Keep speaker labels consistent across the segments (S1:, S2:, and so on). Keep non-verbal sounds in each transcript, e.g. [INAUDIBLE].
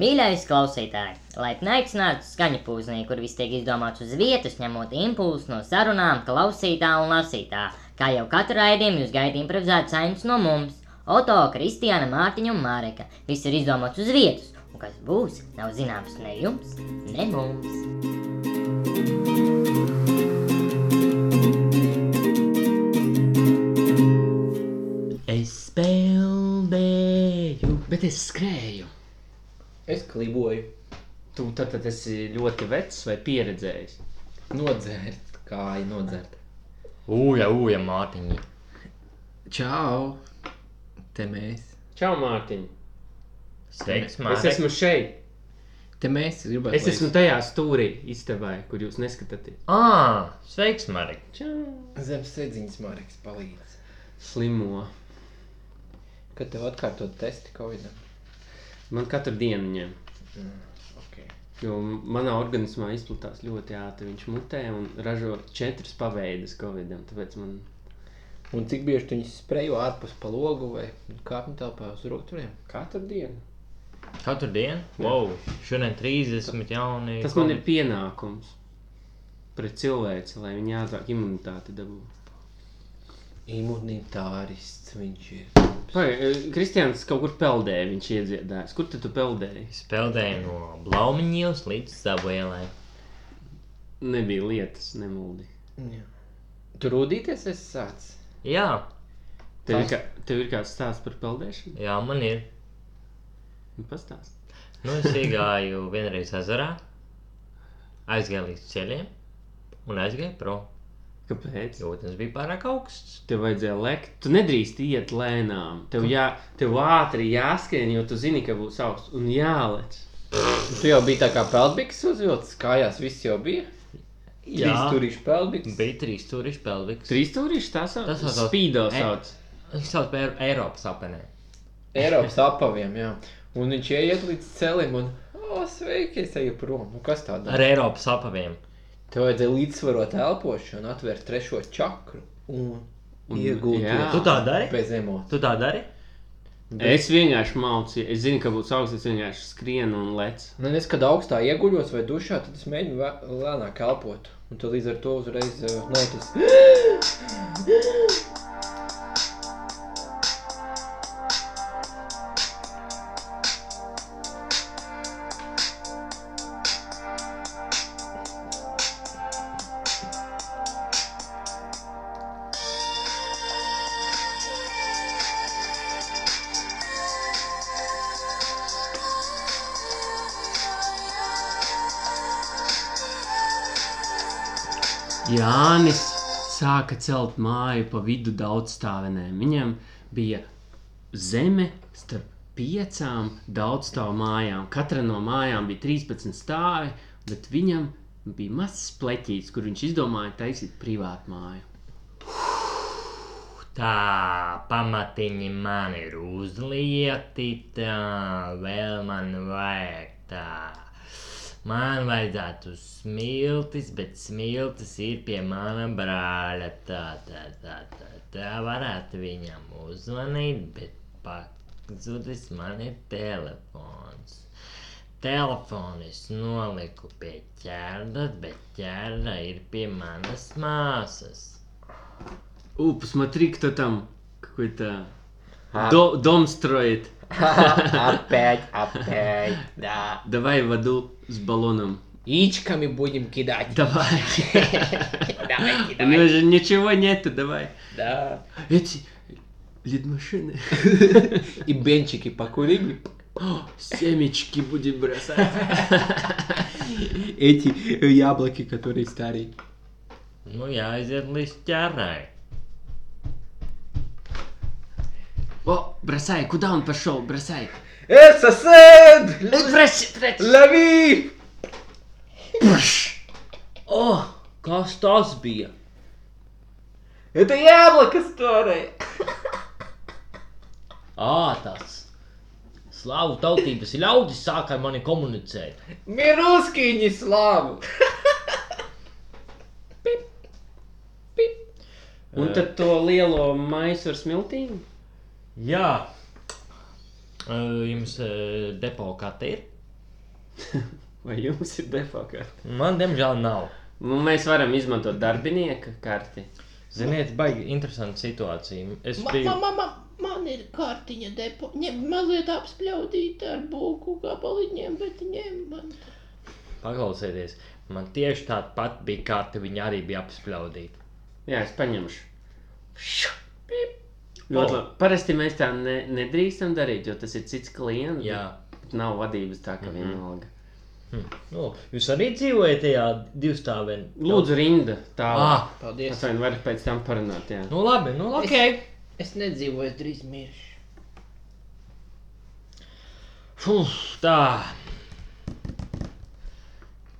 S1: Mīļais klausītāj, laipni aicināts skaņu pūznī, kur viss tiek izdomāts uz vietas, ņemot impulsu no sarunām, klausītā un lasītā. Kā jau katru raidījumu jūs gaidījāt improvizēt saimnes no mums, Oto, Kristiāna, Mārtiņa un Māreka. Viss ir izdomāts uz vietas, un kas būs, nav zināms ne jums, ne mums.
S2: Es spēlēju, bet es skrēju.
S3: Es kliboju,
S2: Tu tad, tad esi ļoti vecs vai pieredzējis.
S3: nodzērt, kā ir nodzērt.
S2: Ugh, ugh, mātiņa.
S4: Čau! Te mēs,
S3: Čau, Mārtiņ!
S2: Sveiks,
S3: Es esmu šeit.
S4: te mēs gribētu.
S3: Es esmu tajā stūrī istabā, kur jūs neskatāties.
S2: Ah, sveiks, Marek.
S3: Čau!
S4: zem sēdziņas, Marks, palīdz.
S3: Slimo.
S4: Kad tev atkārtot testi Covidam?
S3: Man katru dienu ņem.
S4: Okay.
S3: Jo manā organismā izplatās ļoti ātri. Viņš mutē un ražo četras paveidus covidam. Tāpēc man
S4: Un cik bieži tu viņus sprejo ārpus pa logu vai kāpņu telpā uz roktūriem?
S3: katru dienu.
S2: Katru dienu? Wow, šodien 30 jaunie.
S3: Tas man ir pienākums pret cilvēci, lai viņi ātrāk imunitāti dabūtu.
S4: Imunitārists viņš ir.
S3: e, Kristians kaut kur peldēja, viņš iedziedājas. Kur tad tu peldēji?
S2: Spēlēju no Blaumiņas līdz Zabuēlē.
S3: Nebija lietas, nemuldi.
S4: Jā. Tur rūdīties es sāc.
S2: Jā,
S3: Tev ir,
S4: Tas-
S3: kā, tev ir kāds stāsts par peldēšanu?
S2: jā, man ir.
S3: Nu, Pastāst.
S2: Nu, es iegāju [LAUGHS] vienreiz ezerā, aizgāju līdz ceļiem un aizgāju prom.
S3: Kāpēc?
S2: Jo tas bija pārāk augsts.
S3: Tev vajadzēja lekt. Tu nedrīkst iet lēnām. Tev, jā, tev ātri jāskrien, jo tu zini, ka būs augsts un jālec.
S4: Tu jau biji tā kā peldbiks uzvilcis, kājās viss jau bija. Trīs turīšu peldbiks.
S2: bija trīs stūriņš peldiks.
S3: Trīs stūriņš tas sauc.
S2: Tas
S3: Tas
S2: saucās-
S3: spīdo
S2: E.
S3: sauc.
S2: Viņš sauc par Eiro- Eiropas apenē.
S4: Eiropas apaviem, jā. Un viņš ieiet līdz celim un, o, sveiki, es eju prom. Nu, kas tā dara?
S2: Ar Eiropas apaviem.
S4: Tev vajadzēja līdzsvarot elpošanu, atvērt trešo čakru un,
S3: Un-
S4: un iegūt
S3: jā.
S2: Tu tā dari?
S4: bez emocijām.
S2: Tu tā dari?
S4: Bet-
S3: Es vienkārši mācīju, es zinu, ka būs augsts. Es vienkārši skrienu un lecu.
S4: Nu, es, kad augstā ieguļos vai dušā, tad es mēģinu vē- lēnāk elpot. Un tad līdz ar to uzreiz uh, liekas, [GASPS]
S3: Jānis sāka celt māju pa vidu daudzstāvenēm. Viņam bija zeme starp piecām daudzstāvu mājām. Katra no mājām bija 13 stāvi, bet viņam bija mazs pleķīts, kur viņš izdomāja taisīt privātu māju.
S2: Tā pamatiņi man ir uzlieti, tā vēl man vajag tā. Man vajadzētu smiltis, bet smiltis ir pie mana brāļa. Tā, tā, tā, tā, tā varētu viņam uzvanīt, bet pazudis man ir telefons. Telefonu es noliku pie ķērda, bet ķērda ir pie manas māsas.
S3: U, посмотри, кто там какой-то до- дом строит.
S4: apēd, apēd, dā.
S3: Давай в аду с баллоном.
S4: Īčkami budam [LAUGHS] kidāt.
S3: Давай. [LAUGHS]
S4: Давай
S3: У него же ничего нету, давай.
S4: dā.
S2: [LAUGHS]
S3: Эти лид-машины.
S4: I benčiki pakurīgi.
S3: О, Семечки будем бросать.
S4: Эти яблоки, которые старые.
S2: Nu, jāaiziet līdz ķērai.
S3: О, бросай, куда он пошел? Бросай.
S4: Es esmu! Labi!
S2: Oh,
S3: О, kas tas bija?
S4: Это яблоко старое!
S2: Ā, tas slavu tautības ļaudis sāk ar mani komunicēt.
S4: Мы русские не славы!
S3: Un tad to lielo maisu ar smiltīm?
S2: Jā, Ē, jums ē, depo kati ir?
S3: Vai jums ir defekts?
S2: Man, diemžēl, nav.
S3: Nu, mēs varam izmantot darbinieka karti.
S2: Ziniet, baigi interesanta situācija. Es biju.
S5: Mama, mama, man ir kārtiņa depo, ņem, mazliet apspļaudīta ar būku gabaliņiem, bet ņem man.
S2: Paklausieties, man tieši tāda pati bija kārta, viņa arī bija apspļaudīta.
S3: Jā, es paņemšu. Šu! Pip! Ļoti labi. Parasti mēs tā ne, nedrīkstam darīt, jo tas ir cits klients.
S2: Jā,
S3: bet nav vadības tā kā
S2: Mhm.
S3: vienalga.
S2: nu, jūs arī dzīvojat tajā divstāvēnā.
S3: Lūdzu, rinda. Tā
S2: ah,
S5: Paldies.
S3: tas vien var pēc tam parunāt. Jā.
S2: nu labi, nu labi. Okay.
S5: Es nedzīvoju, es drīz miršu.
S2: Fuh, tā.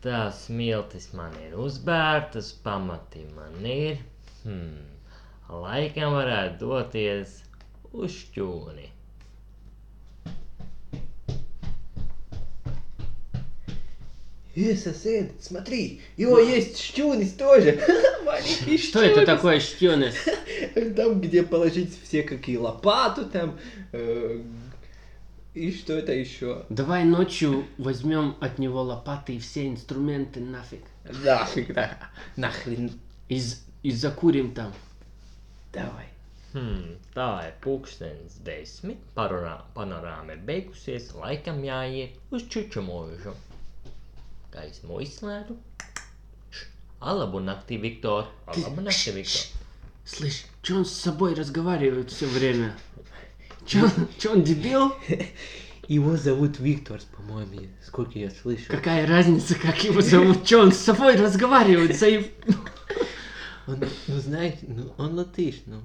S2: Tā smiltis man ir uzbērtas, pamati man ir. Hmm. Laikam varētu doties uz šķūni.
S4: Если сосед, смотри, его есть щуни тоже. [LAUGHS] Маленький
S3: Что это
S4: щуни.
S3: такое щёнес?
S4: Там, где положить все какие лопату там. э, И что это еще?
S3: Давай ночью возьмем от него лопаты и все инструменты нафиг.
S4: Нафиг, да. Нахрен.
S3: И, з- и закурим там.
S4: Давай.
S2: Hmm, tā ir pūkstens desmit. Parorā, panorāma ir beigusies. Laikam jāiet uz čūču mūžu. Gaismu izslēdzu. Š, Alabu naktī, Viktor. Alabu naktī, Viktor.
S3: Слышь, че он с собой разговаривает все время? Че он, чё он дебил?
S4: Его зовут Виктор, по-моему, сколько я слышал.
S3: Какая разница, как его зовут? Че он с собой разговаривает? заеб-
S4: Он, ну знаете, ну он латыш, [LAUGHS] ну.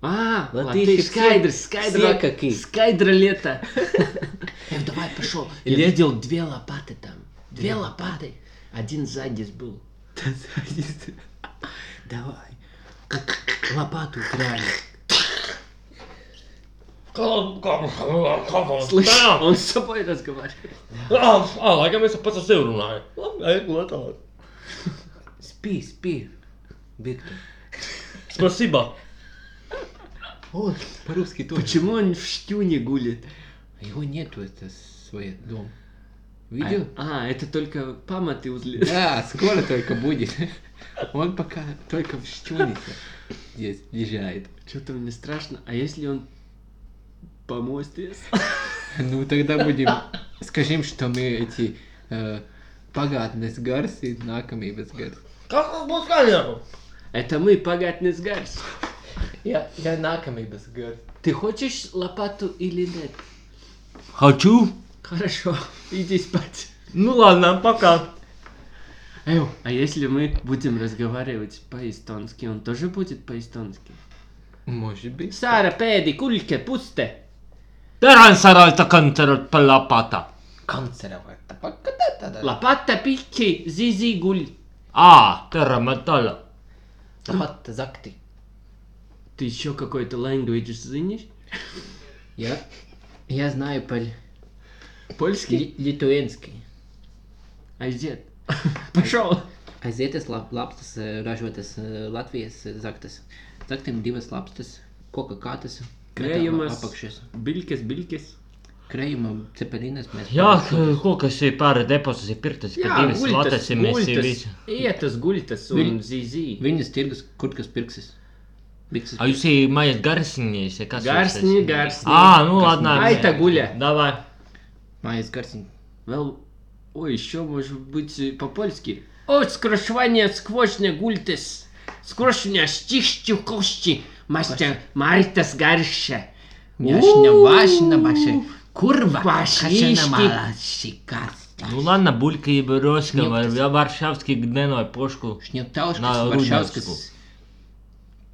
S3: А,
S4: Латыш
S3: латыш,
S4: все-
S3: скайдер,
S4: все
S3: скайдер,
S4: какие.
S3: скайдер лето. [LAUGHS] Эм, давай, пошел. Я
S4: Ле-
S3: видел две лопаты там. Две лопаты. Один сзади был.
S4: Давай. Лопату крали.
S3: Слышь,
S2: Tā!
S3: он с собой разговаривает.
S2: Ah, ah, laikam es pats ar sevi runāju. Labi,
S4: а
S2: ej, lētāk.
S4: Спи, спи. Виктор.
S2: Spasībā.
S4: О, по-русски тоже. А
S3: [LAUGHS] Почему он в штюне гулит?
S4: Его нету, это свой дом.
S3: А,
S4: Видел?
S3: а, это только паматы узли. [LAUGHS]
S4: Да, скоро только будет. Он пока только в Щунице здесь езжает.
S3: Что-то мне страшно. А если он по мосту?
S4: Ну тогда будем... Скажем, что мы эти... Э, Пагатность гарс и знакомības гарс.
S2: Kas tas būs skaļāk?
S3: [LAUGHS] Это мы, погатный сгарс.
S4: Я, я знакомības гарс.
S3: Ты хочешь лопату или нет?
S2: Хочу.
S3: Хорошо, иди спать.
S2: Nu, ладно, pakāp.
S3: Эу, а если мы будем разговаривать по-эстонски, он тоже будет по-эстонски?
S4: Может быть.
S3: Сара, педи, кульке, пусте.
S2: Terän saralta kanterot palapata.
S4: Канцерова. Тапакатата.
S3: Лопата пики, зизи гуль.
S2: Aa, terä matala.
S4: Тапатта закты.
S3: Ты еще какой-то language знаешь?
S5: Jā, jā zināju par
S3: Польский? А
S5: Lietuvienski.
S3: [LAUGHS] Айзет. Пошел.
S5: Aiziet, es lab, labstas,
S3: э,
S5: eh, ražotas eh, Latvijas eh, zaktas. Zaktiem divas labstas, koka kātas.
S3: Krējumas.
S5: metāla Apakšas.
S3: Билькес, билькес.
S5: Krējuma cepelīnas mēs.
S2: Jā, kokas ir pāri deposīti pirktas, ka divas latas ir mēs ir visi.
S3: Ietas, guļtas un
S5: Viņ-
S3: zizi.
S5: Viņas tirgus, kur kas pirksis.
S3: А-
S5: Bikses.
S2: A jūs ir mājas garsiņies, ja kas? jūs
S3: Garsni,
S2: esat?
S3: garsni.
S2: Ā, nu, ladnā.
S3: Aita guļa.
S2: Davai.
S5: Mājas garsiņa.
S3: Vēl, oi, еще может быть э, по-польски. О, скрошвание, сквозня, гультес. Скрошня, стихчу, кошти. Мастер, мартас, гарша.
S5: Jašņa vašana baše. Kurva. Kašana
S3: Vašniški.
S5: malaši kasta.
S2: Nu, ladnā, buļka ir roska, vai
S5: Ņemtas.
S2: vēl ja, varšavski gdenoja pošku.
S5: Šņeptauskas,
S2: Nav
S5: Varšavskas.
S2: Rudnevsku.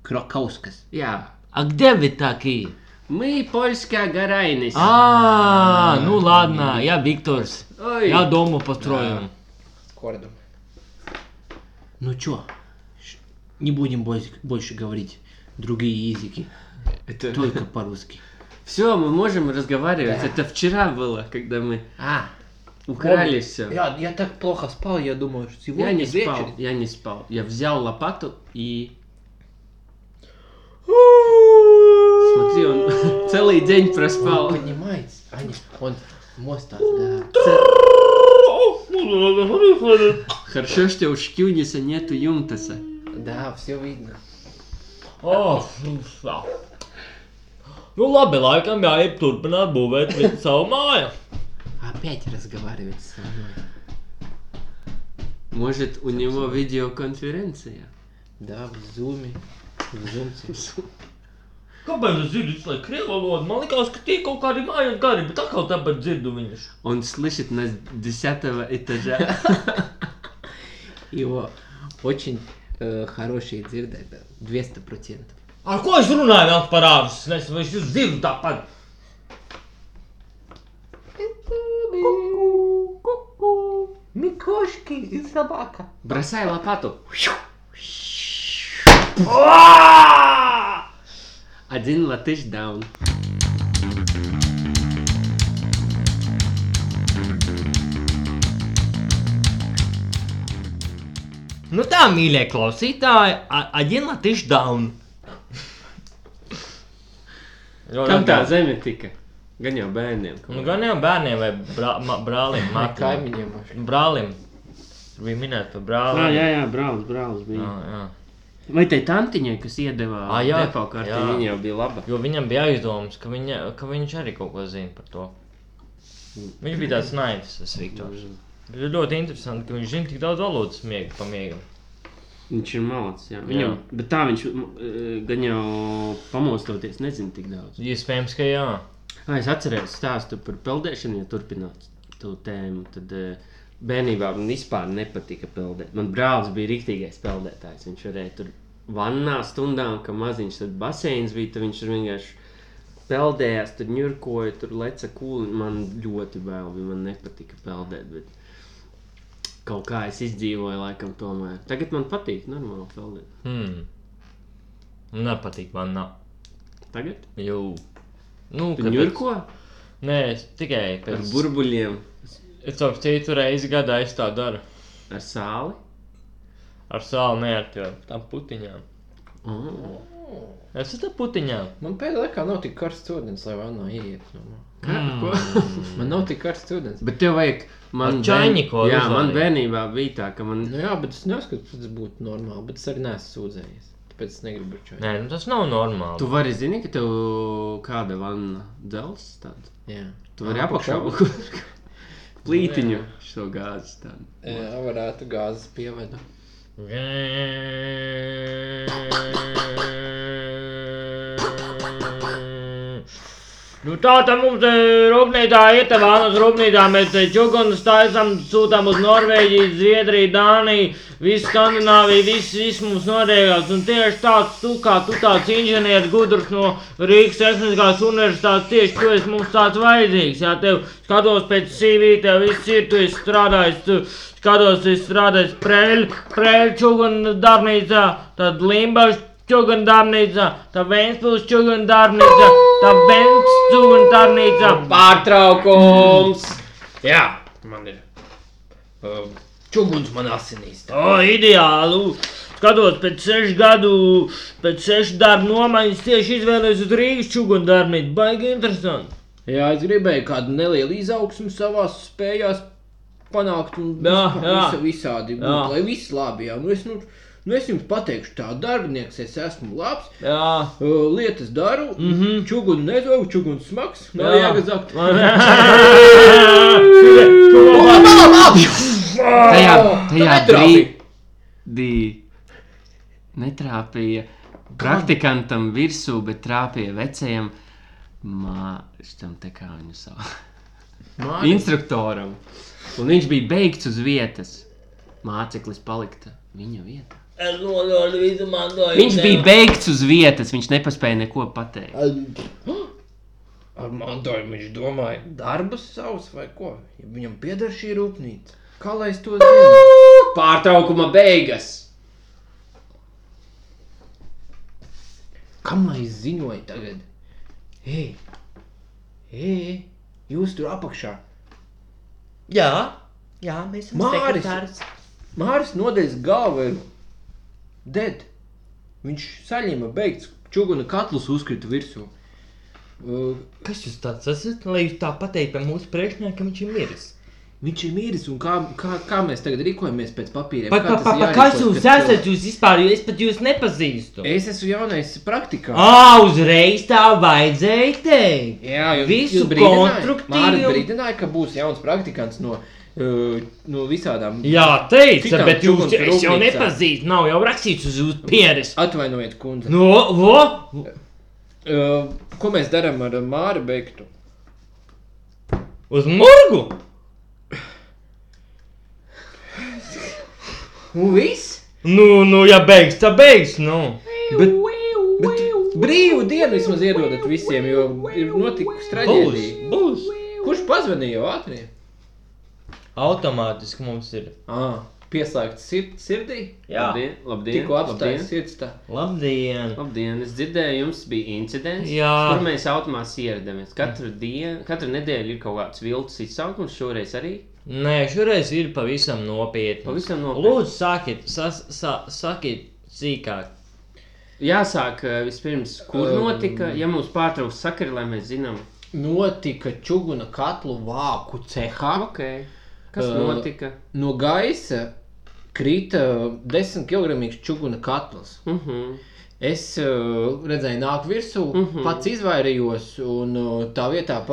S5: Krokauskas.
S3: Jā,
S2: A, kde vi taki?
S3: мы польская гарайность.
S2: А? Ā, nu, ladnā, jā, Viktors.
S3: Ой,
S2: Jā, domu pastrojam.
S4: Кордом.
S5: Ну чё, ш- не будем больше, больше говорить другие языки,
S3: это...
S5: только по-русски.
S3: Все, мы можем разговаривать. Это вчера было, когда мы
S5: А,
S3: украли все.
S4: Я, я так плохо спал, я думаю, что сегодня
S3: Я не
S4: вечер-
S3: спал, я не спал. Я взял лопату и... Смотри, он [LAUGHS] целый день
S4: Он
S3: проспал.
S4: понимает, Аня, он мост, да.
S3: Ц- Хорошо, что у Шкюниса нету Юмтаса.
S4: Да, все видно.
S2: Oh, fff, ah. nu labi, Ну laikam jāiet turpināt būvēt vi- savu māju.
S4: Опять разговаривать со мной.
S3: Может, у него видеоконференция?
S4: Да, в зуме. В зумце.
S2: Kāpēc es dzirdu visu laiku krievu valodu? Man liekas, ka tie kaut kādi mājas gari, bet atkal tāpēc dzirdu viņus.
S3: Он слышит нас с десятого этажа.
S4: [LAUGHS] Его очень э, хорошие дзирда, это 200%.
S2: Ar ko es runāju vēl parādus? Es nezinu, vai es jūs dzirdu tāpat.
S4: Микошки и собака.
S3: Бросай лопату. Один латыш даун.
S2: Nu tā, mīļie klausītāji, aģina tieši down.
S3: Kam tā zeme tika? Gan jau bērniem.
S2: Nu, gan jau bērniem vai brā, ma, brālim, mākam.
S4: Камень может.
S2: Brālim. Tur bija minēta par
S3: Jā,
S2: brāli.
S3: Ah, jā, jā, brālis, brālis bija.
S2: jā, jā.
S3: Vai tai tantiņai, kas iedeva
S2: Ā, Ah. jā,
S3: depo karti,
S2: jā.
S3: viņa jau bija laba?
S2: Jo viņam bija aizdomas, ka, viņa, ka viņš arī kaut ko zina par to. Viņš bija tāds naivs, tas Viktors. Ir ļoti interesanti, ka viņš zina tik daudz valodas smiega pamiegam.
S3: Viņš ir malacis, jā.
S2: Jā.
S3: Viņam, bet tā viņš mm, gan jau pamostoties nezina tik daudz.
S2: Iespējams, ka jā.
S3: Ai, es atceros stāstu par peldēšanu, ja turpināt to tēmu. Tad eh, bērnībā man vispār nepatika peldēt. Man brālis bija rīktīgais peldētājs. Viņš varēja tur vannā stundām, ka maziņš tad baseins bija, tad viņš tur vienkārši peldējās, tur ņurkoja, tur leca kūli. Man ļoti bail bija, man nepatika peldēt. Bet... Kaut kā es izdzīvoju, laikam, tomēr. Tagad man patīk, normāli peldēt.
S2: Hmm. Nepatīk man nav.
S3: Tagad?
S2: Jū. Nu,
S3: Tu ņurko?
S2: Nē, es tikai
S3: Ar
S2: pēc
S3: burbuļiem,
S2: burbuļiem. Es jau citu reizi gadā es tā daru.
S3: ar sāli?
S2: Ar sāli nē, ar tiem- tām putiņām.
S3: Oh.
S2: Es esmu tā putiņām.
S4: Man pēdējā laikā nav tik karsts ūdens, lai vannā ieiet. Nu.
S3: Kā- ko?
S4: Man nav tik karsts ūdens.
S3: Bet tev vajag, man
S2: Ar čaiņiko
S3: Jā,
S2: uzlādīt.
S3: man bērnībā bija tā, ka man.
S4: Nu jā, bet es neskatu, tas būtu normāli, bet es arī neesmu sūdzējies. Tāpēc es negribu čau.
S2: Nē, nu tas nav normāli.
S3: Tu vari zināt, ka tev kāda vana dzels tāda.
S4: Jā,
S3: Tu vari
S4: Apakšā.
S3: apakšā apakšā [LAUGHS] plītiņu šo gāzi tādu.
S4: jā varētu gāzes pievedu.
S2: Nu, tā tad mums ir rūpnīcā, ir tā vāna uz rūpnīcā. Mēs čūskas taisām, sūtām uz Norvēģiju, Zviedriju, Dāniju, visu Skandināviju. Viss, viss mums norējās. Un tieši tāds, tu kā tu tāds inženieris gudrs no Rīgas Tehniskās Universitātes, tieši tu esi mums tāds vajadzīgs. Jā, tev skatos pēc CV, tev viss ir, tu esi strādājis. Tu, Skatos, es strādāju Prēļu čūgunu darbnīcā, tad Limbažu čūgunu darbnīcā, tad Vēnspils čūgunu darbnīcā, tad Vēnspils čūgunu darbnīcā.
S4: Pārtraukums! Jā, man ir. Um, Čuguns man asinīs.
S2: O, ideāli! u, Skatos, pēc sešu gadu, pēc sešu darbu nomaiņas tieši izvēlējos uz Rīgas čūgunu darbnīcu. Baigi interesanti.
S4: Jā, es gribēju kādu nelielu izaugsmu savā spējās panākt. Un
S2: Jā,
S4: vispār
S2: jā.
S4: visa- Visādi, būt,
S2: Jā.
S4: lai viss labi. Jā. Nu, es, nu, nu es jums pateikšu, tā darbinieks, es esmu labs.
S2: Jā.
S4: uh, Lietas daru, mm -hmm. čūnu nezogu, čūnu smags. Nav
S2: Mhm. Jā.
S4: jāgazāk.
S3: Tajā,
S4: Oh, Tu
S3: tajā
S4: netrāpīji.
S3: brīdī netrāpīja praktikantam virsū, bet trāpīja vecajam māksliniekam, te kā viņu sauc. Instruktoram. Un viņš bija beigts uz vietas. Māceklis palika viņa vietā.
S2: Es nododu visu mantojumu.
S3: Viņš bija beigts uz vietas, viņš nespēja neko pateikt.
S4: Ar mantojumu viņš domāja, darbus savus vai ko? Ja viņam pieder šī rūpnīca. Kā lai es to zinu?
S3: Pārtraukuma beigas!
S4: Kam lai es ziņoju tagad? Hei, hei, jūs tur apakšā.
S6: Jā, jā, mēs esam
S4: Māris!
S6: sekretārs.
S4: Māris nodeļas galva ir dead. Viņš saņēma beigts, čūna katlus uzkrita virsū. Uh,
S6: Kas jūs tāds esat? Lai jūs tā pateiktu par mūsu priekšniekam, viņš ir miris.
S4: Viņš ir miris, un kā, kā, kā mēs tagad rīkojamies pēc papīra?
S6: Pa, pa, pa, pa, kas jūs esat? Jūs vispār, es pat jūs nepazīstu.
S4: Es esmu jaunais praktikā.
S6: Ā, uzreiz tā vajadzēja teikt.
S4: Jā, jau
S6: Visu konstruktīvi
S4: Mārcis
S6: un-
S4: brīdināja, ka būs jauns praktikants no, uh, no visādām.
S2: Jā, teica,
S4: Citām
S2: bet jūs
S4: čugums
S2: es jau
S4: rūpnīcā.
S2: nepazīstat, nav jau rakstīts uz jūsu pieres.
S4: Atvainojiet, kundze.
S2: No, vo?
S4: Uh, ko mēs darām ar uh, Māri Beigtu?
S2: Uz murgu?
S4: Nu, viss!
S2: Nu, nu, ja beigs, tad beigs, nu.
S4: Bet, bet brīvu dienu vismaz iedodat visiem, jo ir notikusi
S6: Būs,
S4: traģēdija.
S6: būs.
S4: Kurš pazvanīja jau ātri?
S6: Automātiski mums ir.
S4: Ah, pieslēgts sird, sirdī.
S6: Jā.
S3: Labdien, labdien,
S4: Tikko apstājās
S3: labdien.
S4: sirds. Tā.
S6: Labdien!
S3: Labdien, es dzirdēju, jums bija incidents,
S2: Jā.
S3: kur mēs automātiski ieradāmies. Katru dienu, katru nedēļu ir kaut kāds viltus izsaukums, šoreiz arī.
S2: Nē, šoreiz ir pavisam nopietni.
S3: Pavisam nopietni.
S2: Lūdzu, sakiet, sas, sa, sakiet sīkāk.
S3: Jāsāk eh, vispirms, kur
S4: Um.
S3: notika, ja mums pārtrauks sakari, lai mēs zinām,
S4: Notika čuguna katlu vāku cehā.
S3: okay. kas
S4: Uh.
S3: notika.
S4: No gaisa krita desmit kilogramīgs čuguna katls.
S3: Uh -huh.
S4: Es uh, redzēju, nāk virsū, mm
S3: Mhm.
S4: -hmm. pats izvairījos, un uh, tā vietā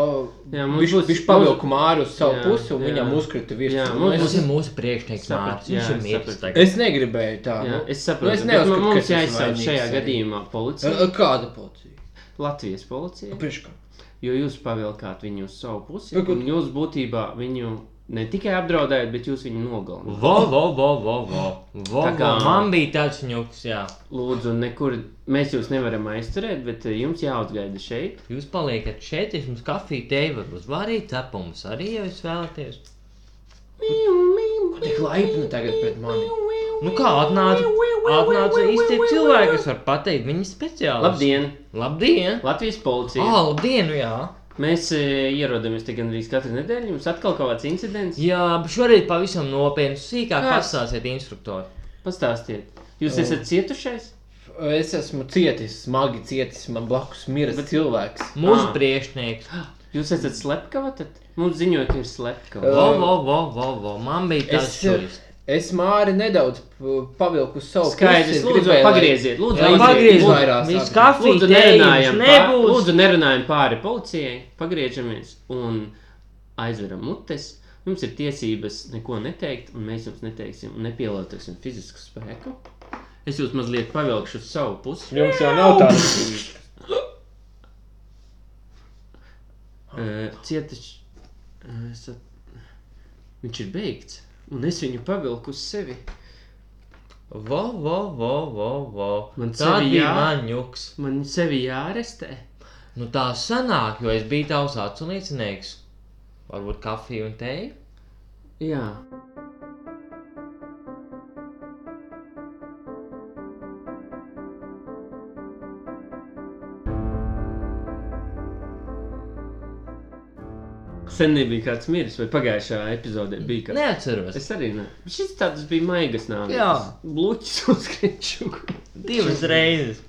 S3: Jā, mums būs-
S4: viņš pavilka māru uz savu
S3: Jā,
S4: pusi, un
S3: jā.
S4: viņam uzkrita virsū.
S3: Jā,
S4: Nu,
S3: mums
S4: es,
S2: Mums ir mūsu priekšnieks
S3: Sapratu,
S2: Mārcis.
S3: jā,
S2: Viņš ir
S3: es
S2: miris
S3: sapratu.
S2: tagad.
S4: es negribēju tā.
S3: Jā,
S4: nu.
S3: es
S4: Nu,
S3: saprotu,
S4: es
S3: bet
S4: neuzskatu,
S3: mums
S4: ka es esmu
S3: jāizsauc
S4: vainīgs
S3: šajā
S4: arī. Ehm.
S3: gadījumā policija,
S4: Ā, Kāda Nu, policija?
S3: Latvijas policija.
S4: Priekšā.
S3: Jo jūs pavilkāt viņu uz savu pusi,
S4: Nu, kur-
S3: un jūs būtībā viņu ne tikai apdraudējat, bet jūs viņu nogalināt.
S2: Vo, vo, vo, vo, vo. vo,
S3: Tā
S2: vo.
S3: kā-
S2: Man bija tāds ņuks, jā.
S3: Lūdzu, nekur mēs jūs nevaram aizturēt, bet eh, jums jāatgaida šeit.
S2: Jūs paliekat šeit, es jums kafiju teju varu uzvārīt, cepumus arī, ja jūs vēlaties.
S4: Tik laipni tagad pret mani.
S2: Nu kā atnāca, atnāca īstie cilvēki, es varu pateikt, viņi speciāli.
S3: Labdien!
S2: Labdien!
S3: Latvijas
S2: Ā,
S3: policija!
S2: labdien, nu jā!
S4: Ah.
S3: Mēs eh, ierodamies te gandrīz katru nedēļu. Jums atkal kaut kāds incidents?
S2: Jā, bet šoreiz pavisam nopietni, sīkāk
S3: Kas?
S2: pastāstiet instruktori.
S3: Pastāstiet, jūs
S4: Jā.
S3: esat cietušais?
S4: Es esmu cietis, smagi cietis, man blakus miris Bet... cilvēks.
S2: Mūsu
S3: Ā.
S2: priekšnieks.
S3: Ah. Jūs esat slepkava? Tad mums ziņoja, ka ir slepkava.
S2: Vo, vo, vo, vo, vo. Man bija
S4: Es,
S2: tāds šoreiz.
S4: es māri nedaudz p- pavilku uz savu pusi,
S3: Skaidrs, lūdzu,
S4: gribēju, lai-
S3: pagrieziet, lūdzu,
S4: Jā,
S3: aiziet,
S4: pagrieziet.
S3: lūdzu.
S4: vairāk
S2: Viņš
S4: sākam.
S2: kafiju
S3: Lūdzu,
S2: teju,
S3: nerunājam, pār,
S2: nebūs.
S3: lūdzu, nerunājam pāri policijai, pagriežamies un aizveram mutes. Jums ir tiesības neko neteikt, un mēs jums neteiksim, un nepielietosim fizisku spēku. Es jūs mazliet pavilkšu uz savu pusi.
S4: Jums jau nav tādas lietas.
S3: Eh, Cietiš, eh, es at- viņš ir beigts, un es viņu pavilku uz sevi.
S2: Vo, vo, vo, vo, vo.
S3: Man
S2: Tā
S3: sevi
S2: bija
S3: jā-
S2: man ņuks.
S3: Man sevi jārestē.
S2: Nu tā sanāk, jo es biju tavs aculīcinieks. Varbūt kafiju un teju?
S3: Jā. Sen nebija kāds miris, vai pagājušajā epizodē bija kāds.
S2: Neatceros.
S3: Es arī ne. Šis tāds bija maigas nāves.
S2: Jā.
S3: Bluķis uzkrīču.
S2: Divas reizes.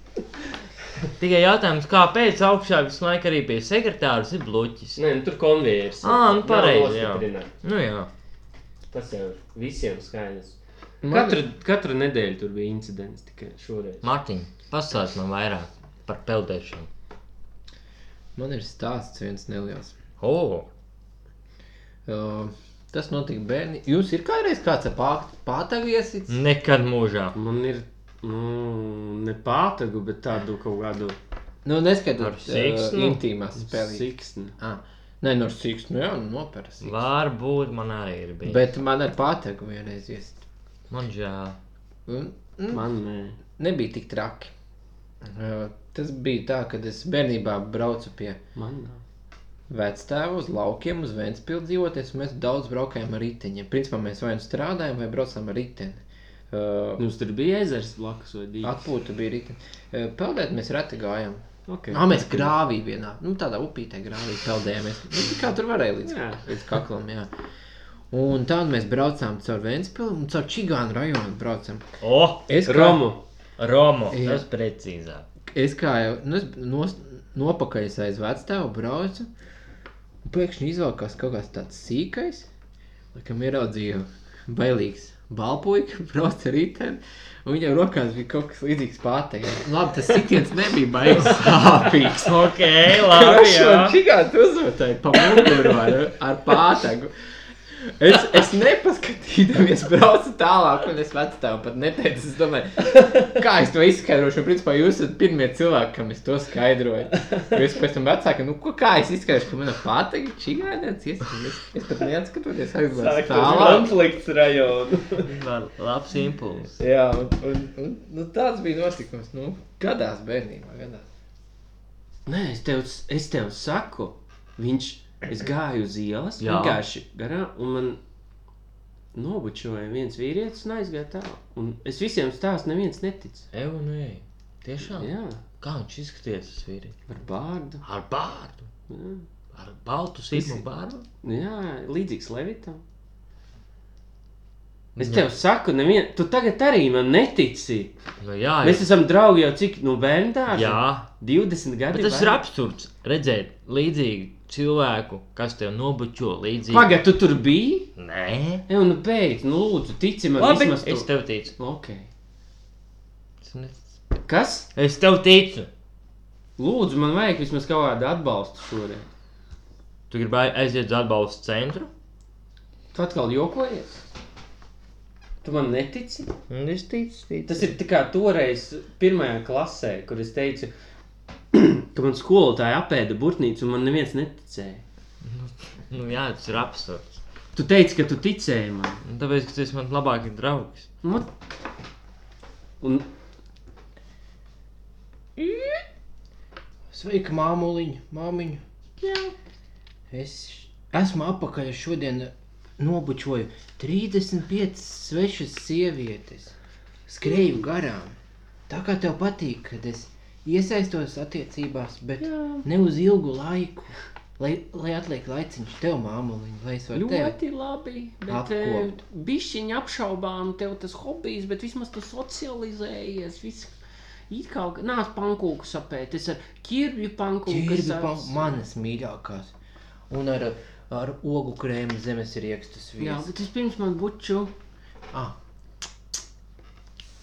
S2: Tikai jautājums, kāpēc augšā visu laiku arī pie sekretāras ir bloķis?
S3: Nē, nu tur konvejers.
S2: Ā, nu
S3: Nav
S2: pareizi, jā.
S3: nostiprināt.
S2: Nu jā,
S3: Tas jau ir visiem skaidrs. Katru, katru nedēļu tur bija incidents tikai šoreiz.
S2: Mārtiņ, pastāsti man vairāk par peldēšanu.
S4: Man ir stāsts viens neliels.
S2: O,
S4: Uh, Tas notika bērni. Jums ir kādreiz kāds pārtagiesis?
S2: nekad mūžā.
S3: Man ir nu, ne pātagu, bet tādu kaut kādu
S4: Nu,
S2: Ar
S4: neskatot uh,
S2: siksnu?
S4: intīmās spēlēs.
S3: siksnu.
S4: Ah, nē, no sīksts, nu jā, nu noperas.
S2: Varbūt man arī ir bijis. Bet...
S4: Bet man ar pārtagu vienreiz iest.
S2: Man žēl.
S4: Un, mm,
S3: Man nē.
S4: Nebija tik traki. Uh, Tas bija tā, kad es bērnībā braucu pie
S3: Man nav.
S4: vectēva uz laukiem, uz Vēncpilsnu dzīvoties, un mēs daudz braukājām ar riteņiem. Principā mēs vai nu strādājām, vai braucām ar riteni. Uh,
S3: Jums Nu, tur bija ezers blakus vai divi?
S4: Atpūta bija riteņa. Uh, Peldēt mēs reti gājām.
S3: Okay.
S4: Nā, mēs grāvī vienā, nu, tādā upītē grāvī peldējāmies. Nu, kā tur varēja līdz,
S3: Jā.
S4: līdz kaklam, jā. Un tā mēs braucām caur Vēncpilsnu un caur Čigānu rajonu braucam.
S2: O,
S4: Es kā-
S3: Romu.
S2: Romo,
S4: Jā.
S2: tas precīzāk.
S4: es kā jau nu, es nos, nopakaļ aiz vecā tēva braucu, un pēkšņi izvēlējās kaut kāds tāds sīkais.
S7: Laikam ieraudzīju bailīgs balpuļs, [LAUGHS] brauc ar riteni, un viņam rokās bija kaut kas līdzīgs pārtei. Labi, tas sitiens nebija
S3: [LAUGHS]
S7: baigts sāpīgs.
S2: [LAUGHS]
S6: Ok, labi. jā.
S7: Čigāta uzmetai pa muguru ar, ar pātagu. Es, es nepaskatījos, braucu tālāk, un es vecu tev pat neteicu. [LAUGHS] Es domāju, kā es to izskaidrošu. Un, Principā jūs esat pirmie cilvēki, kam es to skaidroju. Jo Es pēc tam vecāku, nu, ko- kā es izskaidrošu, ka mana pātaga čigādēts. Es, es, es pat neatskatoties aizbraucu tālāk.
S4: konflikts rajonā.
S2: Man labs impulss.
S7: Jā, un, un, un nu, tāds bija notikums. Nu, gadās bērnībā, gadās.
S3: Nē, es tev, es tev saku, viņš, es gāju uz ielas,
S2: Jā.
S3: vienkārši garām, un man nobučoja viens vīrietis un aizgāja tālu. Un es visiem stāstu, neviens netic.
S2: Eju, nē, nu tiešām.
S3: Jā,
S2: Kā viņš izskatījās, tas vīrietis?
S3: ar bārdu.
S2: Ar bārdu,
S3: Jā,
S2: ar baltu sīkumu bārdu.
S3: jā līdzīgs Levitam. Es
S7: Nu.
S3: tev saku, nevien, tu tagad arī man netici.
S2: Nu, jā,
S3: Mēs esam draugi jau cik, nu, bērnībā?
S2: jā.
S3: 20 gadi.
S2: Bet tas ir
S3: vai?
S2: absurds redzēt līdzīgu cilvēku, kas tev nobučo līdzīgi.
S3: Pagaid, tu tur biji?
S2: Nē,
S3: Ej, nu beidz, nu lūdzu, tici man,
S2: labi.
S3: vismaz tu.
S2: Es tev ticu.
S3: Ok.
S2: Es ne-
S3: Kas?
S2: Es tev ticu.
S3: Lūdzu, man vajag vismaz kaut kādu atbalstu šodien.
S2: Tu gribēji aiziet uz atbalstu centru?
S3: Tu atkal jokojies? Tu man netici?
S2: Es ticu, ticu.
S3: Tas ir tā kā toreiz, pirmajā klasē, kur es teicu, [CLEARS THROAT] ka man skolotāja apēda burtnīcu un man neviens neticēja.
S2: Nu, jā, tas ir absurds.
S3: Tu teici, ka tu ticēji man.
S2: Nu, Tāpēc, ka tas ir mans labākais draugs.
S3: Nu, un
S4: Sveika, māmuliņa, māmiņa. Jā. Es esmu apakaļ šodien nobučoju 35 svešas sievietes. Skrēju garām. Tā kā tev patīk, kad es iesaistos attiecībās, bet Jā. ne uz ilgu laiku. Lai, lai atliek laiciņš tev, māmuliņa, lai es varu tevi.
S3: ļoti labi, bet
S4: Apkopt.
S3: bišķiņa apšaubām tev tas hobijs, bet vismaz tu socializējies. Viss. It kā nāc pankūku sapēt, es ar ķirbju pankūku.
S4: Čirbi pa manas mīļākās. Un ar, ar ogu krēmu zemes riekstus
S3: Jā,
S4: viesu.
S3: bet es pirms man buču.
S4: Ah,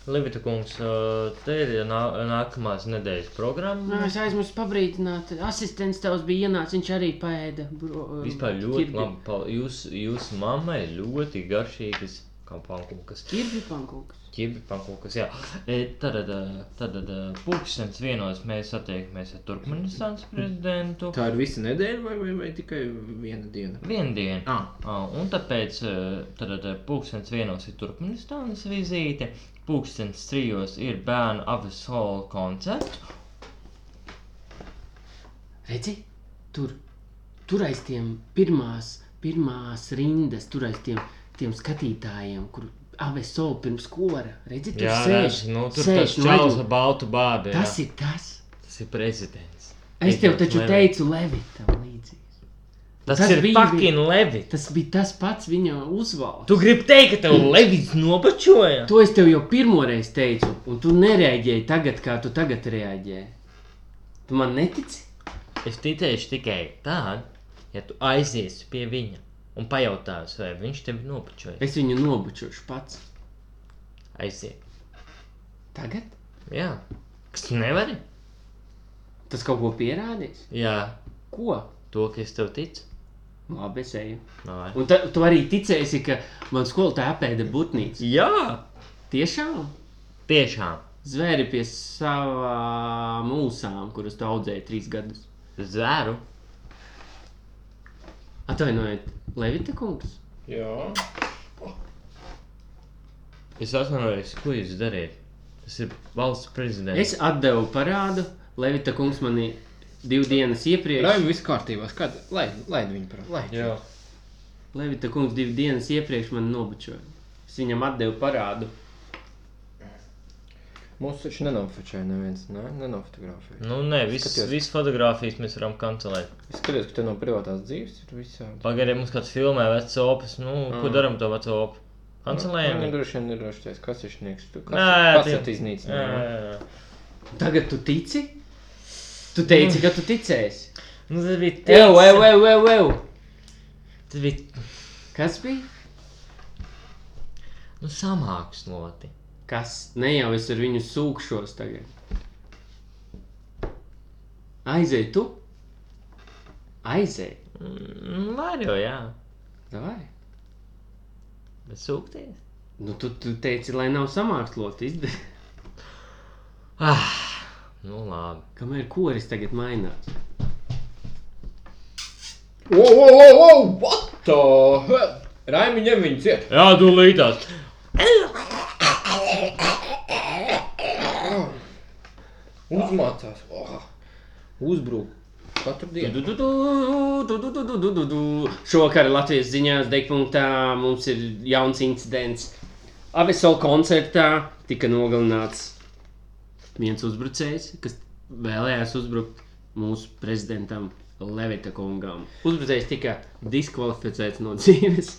S2: Levita kungs, ā, te ir nā- nākamās nedēļas
S3: Nu,
S2: programma.
S3: es aizmirsu pabrīdināt. Asistents tavs bija ienācis, viņš arī paēda. Bro,
S2: Vispār ļoti labi. pal- Jūs, jūs mammai ļoti garšīgas kā pankūkas.
S3: Ķirbju pankūku.
S2: Ķirbi pankūkas, jā. E, Tad, ā, tad ā, pulkstens vienos mēs attiekamies ar Turkmenistānas prezidentu.
S7: Tā ir visa nedēļa vai, vai, vai tikai viena diena?
S2: Vienu dienu.
S7: Ah.
S2: Ah, Un tāpēc eh, tad eh, pulkstens vienos ir Turkmenistānas vizīte, pulkstens trijos ir bērnu avisola koncerts.
S3: Redzi, tur, tur aiz tiem pirmās, pirmās rindas, tur aiz tiem, tiem skatītājiem, kur AVSO pirms kora. Redzi, tur sēž,
S2: redz, nu, tur
S3: sēž,
S2: tas
S3: nu,
S2: čalis
S3: redzi,
S2: ar baltu bābi. jā.
S3: tas ir tas.
S2: tas ir prezidents.
S3: Es tev
S2: Edvards
S3: taču
S2: Levitt.
S3: teicu, Levitam līdzi.
S2: Tas,
S3: tas
S2: tas ir
S3: bija-
S2: fucking levi.
S3: Tas bija tas pats viņa uzvalds.
S2: Tu gribi teikt, ka tev levis nopačoja?
S3: To es tev jau pirmoreiz teicu, un tu nereaģēji tagad, kā tu tagad reaģēji. Tu man netici?
S2: Es ticēšu tikai tad, ja tu aiziesi pie viņa un pajautāsi, vai viņš tevi nopačoja.
S3: Es viņu nobučošu pats.
S2: Aiziet.
S3: Tagad?
S2: Jā. Kas tu nevari?
S3: Tas kaut ko pierādīs?
S2: Jā.
S3: Ko? Nu,
S2: To, ka es tev ticu.
S3: Labi, es eju.
S2: Nē.
S3: Un ta, tu arī ticēsi, ka man skolotāja apēda būtnīcu.
S2: Jā,
S3: Tiešām?
S2: tiešām.
S3: Zvēri pie savām mūsām, kuras tu audzēji trīs gadus.
S2: Zvēru.
S3: Atvainojiet, Levita kungs.
S4: jā.
S2: Es atvainojos, ko jūs darījat. Tas ir valsts prezidents.
S3: Es atdevu parādu. Levita kungs manī divu dienas iepriekš.
S7: Raim viss kārtībā, kad laid, laid viņu par laiku.
S2: Jā.
S3: Levita kungs divu dienas iepriekš man nobučoja. Es viņam atdevu parādu.
S7: Mums taču nenofočēja neviens, ne? nenofotografēja.
S2: Nu, nē, visas
S7: Skaties.
S2: vis fotogrāfijas mēs varam kancelēt.
S7: Es skatos, ka te no privātās dzīves ir visādi.
S2: Pagaidiet, mums kāds filmē veco opus. Nu, mm. ko darām to veco opu? Kancelējam.
S4: nu
S7: Viņam droši vien ir rošķies kasišnieks. Tu
S2: Nē,
S7: kas
S2: tie-
S7: ir
S2: Jā, jā,
S7: iznīcinājums?
S2: jā.
S3: Tagad tu tici? Tu teici, ka tu ticēsi.
S2: Nu, tas bija
S3: Evo,
S2: tic-
S3: evo, evo, evo!
S2: Tas bija
S3: Kas bija?
S2: Nu, samāksloti.
S3: Kas ne jau es ar viņu sūkšos tagad? Aizej, tu! Aizej!
S2: Mm, Var jau, jā.
S3: Davai.
S2: Bet sūkties.
S3: Nu, tu, tu teici, lai nav samākslot, izdarīt.
S2: Ah, nu labi.
S3: [LAUGHS] Kamēr koris tagad mainās?
S4: Wow, wow, wow, wow, what the hell? Raimi ņem viņu ciet.
S2: Jā, tu līdās.
S4: Uzmācās. Oh. Uzbrūk. Katru dienu.
S3: Du-du-du-du-du-du-du-du-du-du. Šovakar Latvijas ziņās degpunktā mums ir jauns incidents. Avesola koncertā tika nogalināts viens uzbrucējs, kas vēlējās uzbrukt mūsu prezidentam Levita kungam. Uzbrucējs tika diskvalificēts no dzīves.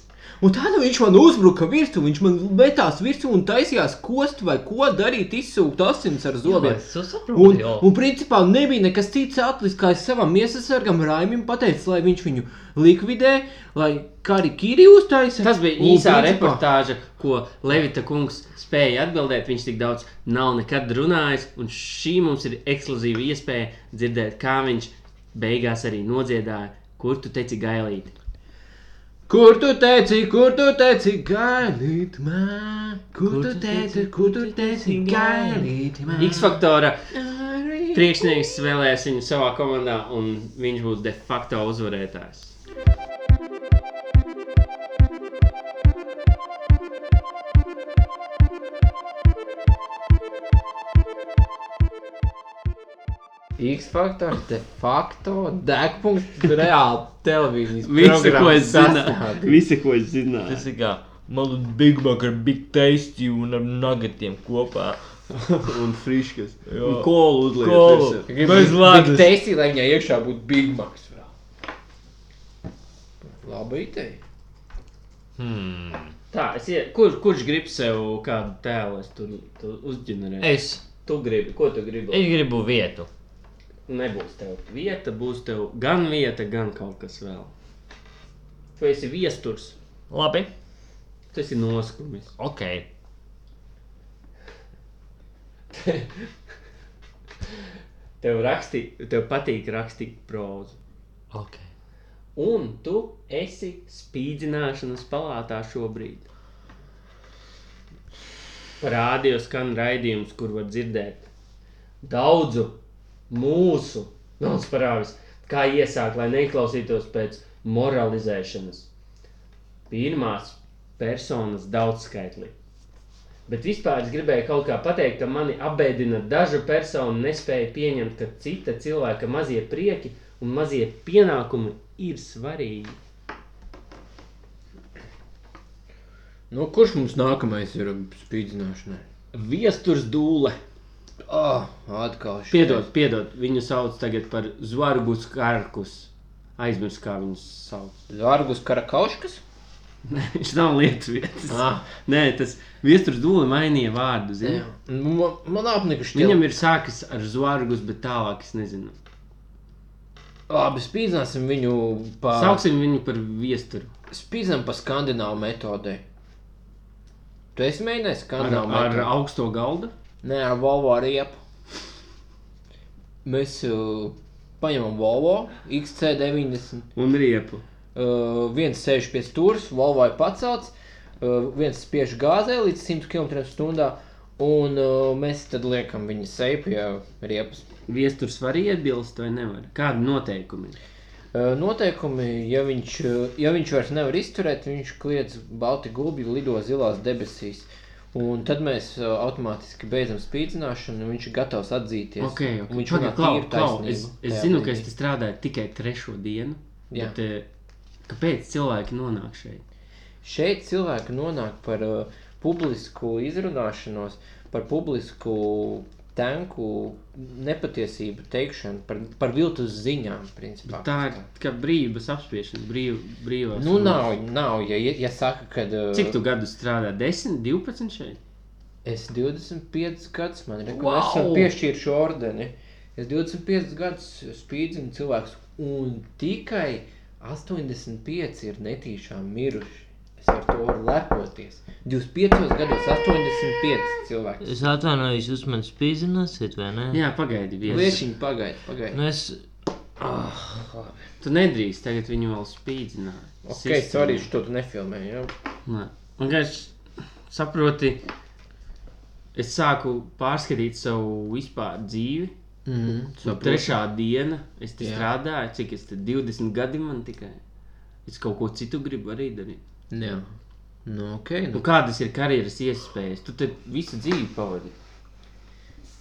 S4: Un tad viņš man uzbruka virsū, viņš man metās virsū un taisījās kost vai ko darīt, izsūkt asins ar zobiem.
S2: Es saprotu,
S4: Un,
S2: jau.
S4: un principā nebija nekas cits atlicis, kā es savam iesasargam Raimim pateicu, lai viņš viņu likvidē, lai karikīri uztaisa.
S3: Tas bija
S4: Un
S3: īsā
S4: principā-
S3: reportāža, ko Levita kungs spēja atbildēt. Viņš tik daudz nav nekad runājis, un šī mums ir ekskluzīva iespēja dzirdēt, kā viņš beigās arī nodziedāja, kur tu teici gailīt.
S4: Kur tu teici, kur tu teici, gaidīt man? Kur tu teici, kur tu teici, gaidīt man?
S3: X faktora priekšnieks vēlēs viņu savā komandā, un viņš būs de facto uzvarētājs.
S4: X faktors de facto degpunkts reāli televīzijas.
S3: visi, ko es zināju.
S2: Tas ir kā malu Big Mac ar Big Tasty un ar nuggetiem kopā.
S5: Un friškas.
S2: Jā.
S5: Un kolu uzliek.
S2: Kolu.
S5: virsū.
S2: Bez
S4: Tik
S2: lēdas.
S4: teici, lai viņai iekšā būtu Big Macs. Labi, ideja.
S2: Hmm.
S3: Tā, es, ie- kur, kurš grib sev kādu tēlu es tur, tur uzģenerēt?
S2: Es,
S3: Tu gribi, ko tu gribi?
S2: es gribu vietu.
S3: Nebūs tev vieta, būs tev gan vieta, gan kaut kas vēl. Tu esi viesturs,
S2: Labi,
S3: tu esi noskumis.
S2: ok.
S3: Tev, raksti, tev patīk rakstīt prózu.
S2: okay.
S3: Un tu esi spīdzināšanas palātā šobrīd. Parādījos skan raidījums, kur var dzirdēt daudzu mūsu nosprāvis, kā iesākt, lai neklausītos pēc moralizēšanas. Pirmās personas daudzskaitlī. Bet vispār es gribēju kaut kā pateikt, ka mani apbēdina dažu personu nespēja pieņemt, ka cita cilvēka mazie prieki un mazie pienākumi ir svarīgi.
S4: Nu, kurš mums nākamais ir spīdzināšanai?
S3: Viesturs dūle.
S4: Ah, atkal šis.
S3: Piedod, piedod, viņu sauc tagad par zvaigžņu skarkus. Aizmirsu, kā viņu sauc.
S4: Zārgus Karakauškas?
S3: Nē, [LAUGHS] Viņš nav lietas vietas.
S4: Ah.
S3: Nē, tas viesturs dūle mainīja vārdu.
S4: Jā.
S3: Zini?
S4: Nu, Man, man apnika šis.
S3: Viņam ir sākas ar zvaigžņu, bet tālāk es nezinu.
S4: Labi, spīdzināsim viņu pa...
S3: Sauksim viņu par viesturu.
S4: Spīdzinām pa skandināvu metodē. Tu esi mēģinājis
S3: Ar,
S4: skandināvu
S3: ar
S4: metodi?
S3: augsto galdu.
S4: Nē, ar Volvo riepu. Mēs uh, paņemam Volvo XC90.
S3: Un riepu.
S4: Uh, viens sēž pie stūres, Volvo ir pacelts, uh, viens spiež gāzē līdz 100 km/h, un uh, mēs tad liekam viņa seju pie riepas.
S3: Viesturs var iebilst vai nevar. Kādi noteikumi ir?
S4: Uh, Noteikumi, ja viņš, uh, ja viņš vairs nevar izturēt, viņš kliedz balti gulbi, lido zilās debesīs. Un tad mēs uh, automātiski beidzam spīdzināšanu, un viņš ir gatavs atzīties.
S3: Okay,
S4: Un
S3: okay.
S4: Viņš
S3: Pagaid,
S4: runā
S3: klau,
S4: tīru
S3: klau.
S4: taisnību
S3: Es, es
S4: tajā
S3: zinu, ka
S4: brīdī.
S3: es te strādāju tikai trešo dienu.
S4: Jā.
S3: Bet, eh, kāpēc cilvēki nonāk šeit?
S4: Šeit cilvēki nonāk par uh, publisku izrunāšanos, par publisku tanku nepatiesību teikšanu, par, par viltus ziņām. Principā,
S3: Tā ir kā brīvības apspiešana, brīv, brīvā.
S4: Nu, nav, nav ja, ja- ja saka, ka. Uh,
S3: Cik tu gadus strādā? 10, 12 šeit?
S4: Es 25 gadus man ir
S3: Wow!
S4: wow! piešķīris šo ordeni. Es 25 gadus spīdzinu cilvēkus, un tikai 85 ir netīšām miruši. Es ar to varu lepoties. 25 gados 85 cilvēki.
S2: Es atvainojos, jūs man spīdzināsiet, vai
S4: Nu.
S2: ne?
S3: Jā, pagaidi, viesi.
S4: Liešiņi pagaidi, pagaidi.
S2: Nu es
S3: Tu nedrīkst tagad viņu vēl spīdzināt.
S4: Ok, sorry, šo tu nefilmēji, jā?
S3: Nē. Vienkārši saproti, es sāku pārskatīt savu vispār dzīvi. Tā
S4: Mhm.
S3: trešā diena, es te
S4: Jā.
S3: strādāju, cik es te 20 gadi man tikai. Es kaut ko citu gribu arī darīt.
S4: Jā. Nu, ok.
S3: Nu,
S4: Nu,
S3: kādas ir karjeras iespējas? Tu te visu dzīvi pavadi.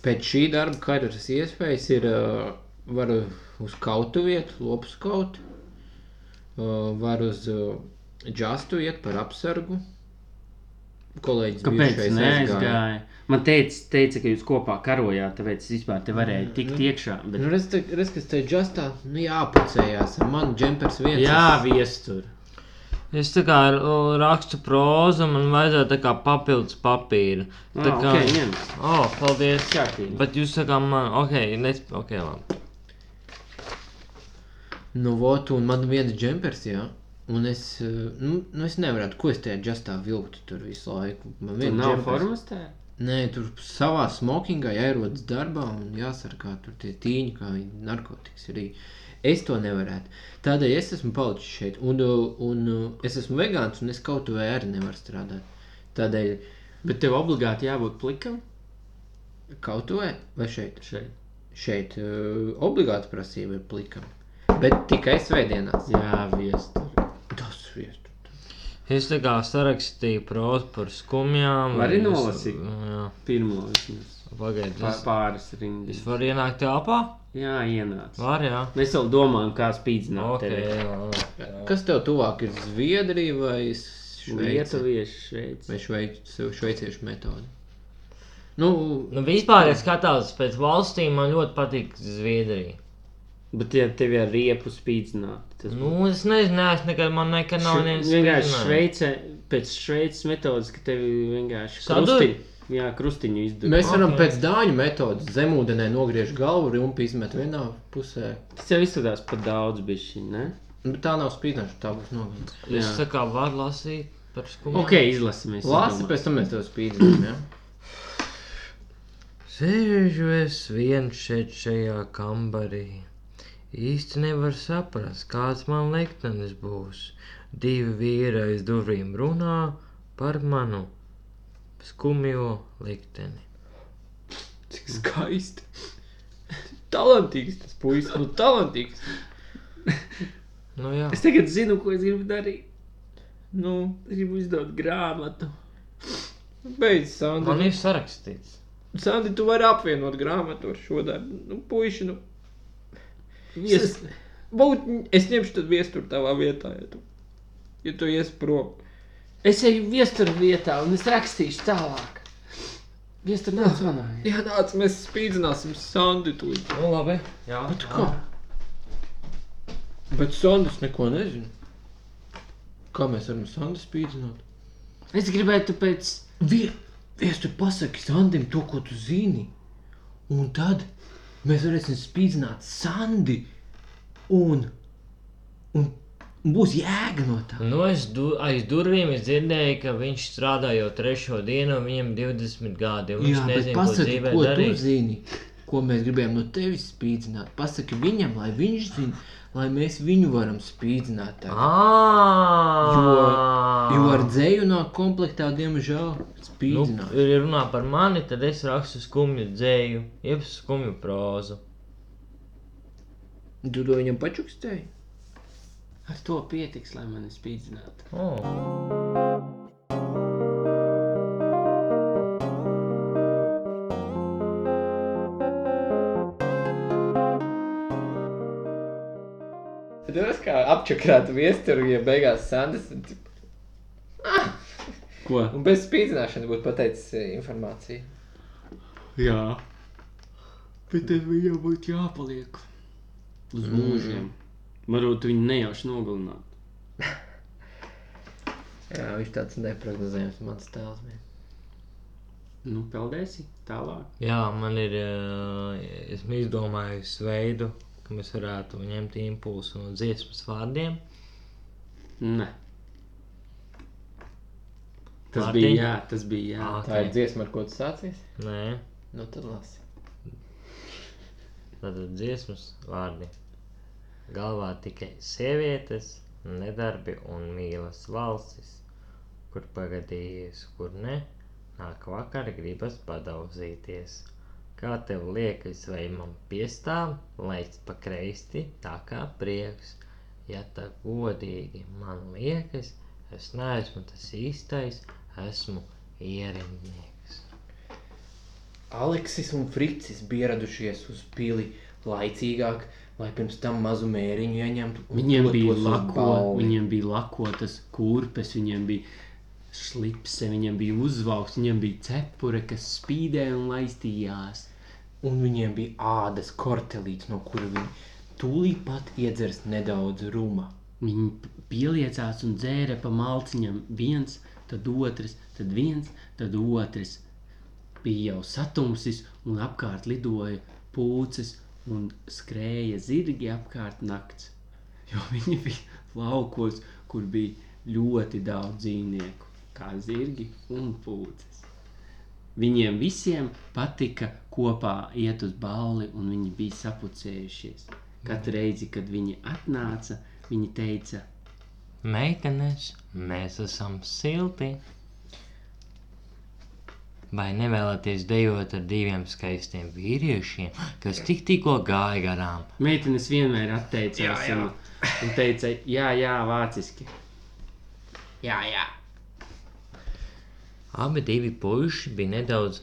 S4: pēc šī darba karjeras iespējas ir, uh, var uz kautu vietu, lopus kaut, uh, var uz uh, džastu iet par apsargu. Kolēģis
S3: Kāpēc
S4: bijušais aizgāja.
S3: neaizgāja? Man teica, teica, ka jūs kopā karojāt, tāpēc es vispār te varēju tikt iekšā.
S4: Nu,
S3: Bet...
S4: redz, te- redz, kas te džastā, nu jāpucējās, man džempers viens.
S3: Jā, viestur.
S2: Es tā kā uh, rakstu prózu, man vajadzēja tā kā papildus papīru. Tā
S3: Tā
S2: kā,
S3: kā Ah, ņem.
S2: oh, paldies.
S3: Kārtīgi.
S2: Bet jūs sakām man, ok, nes, ok, labi.
S4: Nu, vot, un man viens džempers, jā. Un es, uh, nu, nu es nevarētu, ko es tajā džastā vilktu tur visu laiku. Man
S3: Tur
S4: viens
S3: nav
S4: džempers.
S3: formas tā.
S4: Nē, tur savā smokingā jāierodas darbā un jāsargā tur tie tīņi, kā viņi narkotikas arī. Es to nevarētu. Tādēļ es esmu palicis šeit, un, uh, un uh, es esmu vegāns, un es kaut vai arī nevaru strādāt. Tādēļ
S3: Bet tev obligāti jābūt plikam
S4: kaut vai, vai šeit,
S3: šeit.
S4: šeit uh, obligāti prasība ir plikam. Bet tikai svētdienās.
S3: Jā, viestur.
S4: Tas viestu.
S2: Es tā kā sarakstīju prózu par skumjām.
S3: Vari
S2: es-
S3: nolasīt?
S2: Jā,
S3: Pirmo vismaz.
S2: pagaidiet.
S3: Pār-
S2: Es,
S3: Pāris
S2: es
S3: rindas.
S2: varu ienākt telpā?
S3: Jā, ienāc.
S2: Var, jā.
S3: Mēs vēl domājam, kā spīdzināt
S2: Ok,
S3: tevi.
S2: jā, labi.
S4: Kas tev tuvāk ir Zviedrija vai Šveice?
S3: Lietuvieši šeit.
S4: Vai šveic, šveiciešu metodi? Nu,
S2: Nu, vispār, ja skatās pēc valstīm, man ļoti patīk Zviedrija.
S3: Bet ja tevi ar riepu spīdzināt. Tas
S2: Nu, es nezinu, es nekad, man nekad nav
S3: Šve-
S2: nevienas.
S3: vienkārši
S2: spīdzinājums.
S3: Šveicē, pēc šveicis metodas, ka tevi vienkārši
S2: Sadur?
S3: krustiņu, jā, krustiņu izdod.
S4: Mēs varam
S2: Ok.
S4: pēc dāņu metodas zemūdenē nogriezt galvu, rumpi izmet vienā pusē.
S3: Tas jau izskatās par daudz bišķiņu, ne?
S4: Bet tā nav spīdināšana, tā būs nogalināta.
S2: Es
S3: Jā.
S2: tā kā varu lasīt par skumjām.
S3: Ok, izlasimies. es
S4: Lāsi,
S3: domāju.
S4: pēc tam mēs tev spīdinām. Ja?
S2: Sēžu es viens šeit šajā kambarī. Īsti nevar saprast, kāds man liktenis būs. Divi vīri aiz durvīm runā par manu skumjo likteni.
S8: Cik skaisti. Talantīgs tas puisis, nu talantīgs.
S2: Nu jā,
S8: Es tagad zinu, ko es gribu darīt. Nu, es gribu izdot grāmatu. Beidz, Sandra.
S2: man ir sarakstīts.
S8: Sandra, tu vari apvienot grāmatu ar šo darbu. Nu, puiši, nu.
S3: Ies-
S8: Es, būt, es ņemšu tad viesturu tavā vietā, ja tu, ja tu ies prom.
S3: Es eju viestura vietā un es rakstīšu tālāk. Viestura nav zvanāja.
S8: Jā, nāc, mēs spīdzināsim Sandru. tūlīt.
S2: Nu labi, jā.
S4: Bet Sandis neko nezina. Kā mēs varam Sandis spīdināt?
S3: Es gribētu pēc...
S4: Vie- Viesi, tu pasaki Sandim to, ko tu zini. Un tad mēs varēsim spīdināt Sandi. Un, un būs jēga no tā.
S2: Nu, es du, aiz durvīm es dzirdēju, ka viņš strādā jau trešo dienu, un viņam 20 gadi. un Viņš
S4: Jā, bet
S2: nezina, ko
S4: pasaki,
S2: dzīvē
S4: ko tu
S2: darīt.
S4: zini, ko mēs gribējām no tevis spīdzināt. Pasaki viņam, lai viņš zina, lai mēs viņu varam spīdzināt. tagad.
S2: Ah. Ā!
S4: Jo ar dzēju nāk komplektā, diemžēl,
S2: Nu,
S4: spīdzināt.
S2: ja runā par mani, tad es rakstu skumju dzēju, jeb skumju prózu. Nu.
S4: Tu to viņam pačukstēji?
S3: Ar to pietiks, lai mani spīdzinātu.
S2: Oh.
S8: Tad es kā apčakrātu viesturu, ja beigās Sandis un tip-
S3: Ko?
S8: un bez spīdzināšanas būtu pateicis eh, informāciju.
S3: Jā.
S9: Bet tev jau būtu jāpaliek.
S3: Uz mūžiem.
S2: Mm.
S3: Varbūt viņu nejauši nogalināt.
S4: Jā, viņš tāds neparedzējams mans tēls. bija.
S3: Nu, peldēsi tālāk.
S2: Jā, man ir. eh, ā, Esmu izdomājis veidu, kā mēs varētu ņemt impulsu no dziesmas vārdiem.
S3: Nē. Tas
S2: Mārtiņ?
S3: bija, jā, tas bija. Jā.
S2: Ā,
S7: Tā ir
S2: ok.
S7: dziesma, ar ko tu sācies?
S2: Nē,
S7: Nu, tad lasi.
S2: tad dziesmas vārdi. Galvā tikai sievietes, nedarbi un mīlas valstis, kur pagadījies, kur ne, nāk vakar gribas padauzīties. Kā tev liekas, vai man piestāv, laic pa kreisti, tā kā prieks? Ja tā godīgi man liekas, es neesmu tas īstais, esmu ierindnieks.
S7: Aleksis un Fricis bija ieradušies uz pili laicīgāk, lai pirms tam mazu mēriņu ieņemtu. un
S3: Viņiem bija,
S7: dotos uz
S3: lako,
S7: balli.
S3: viņiem bija lakotas kurpes, viņiem bija slipse, viņiem bija uzvalks, viņiem bija cepure, kas spīdēja un laistījās.
S7: Un viņiem bija ādas kortelīts, no kura viņi tūlīt pat iedzers nedaudz ruma.
S3: Viņi p- pieliecās un dzēra pa malciņam viens, tad otrs, tad viens, tad otrs. Bija jau satumsis, un apkārt lidoja pūces, un skrēja zirgi apkārt nakts. Jo [LAUGHS] viņi bija laukos, kur bija ļoti daudz dzīvnieku, kā zirgi un pūces. Viņiem visiem patika kopā iet uz balli, un viņi bija sapucējušies. Katru reizi, kad viņi atnāca, viņi teica,
S2: Meitenes, mēs esam silti. Vai nevēlaties dejot ar diviem skaistiem vīriešiem, kas tik tikko gāja garām?
S3: meitenes vienmēr atteicās jā, jā. Un, un teica, jā, jā, vāciski.
S7: Jā, jā.
S2: Abi divi puiši bija nedaudz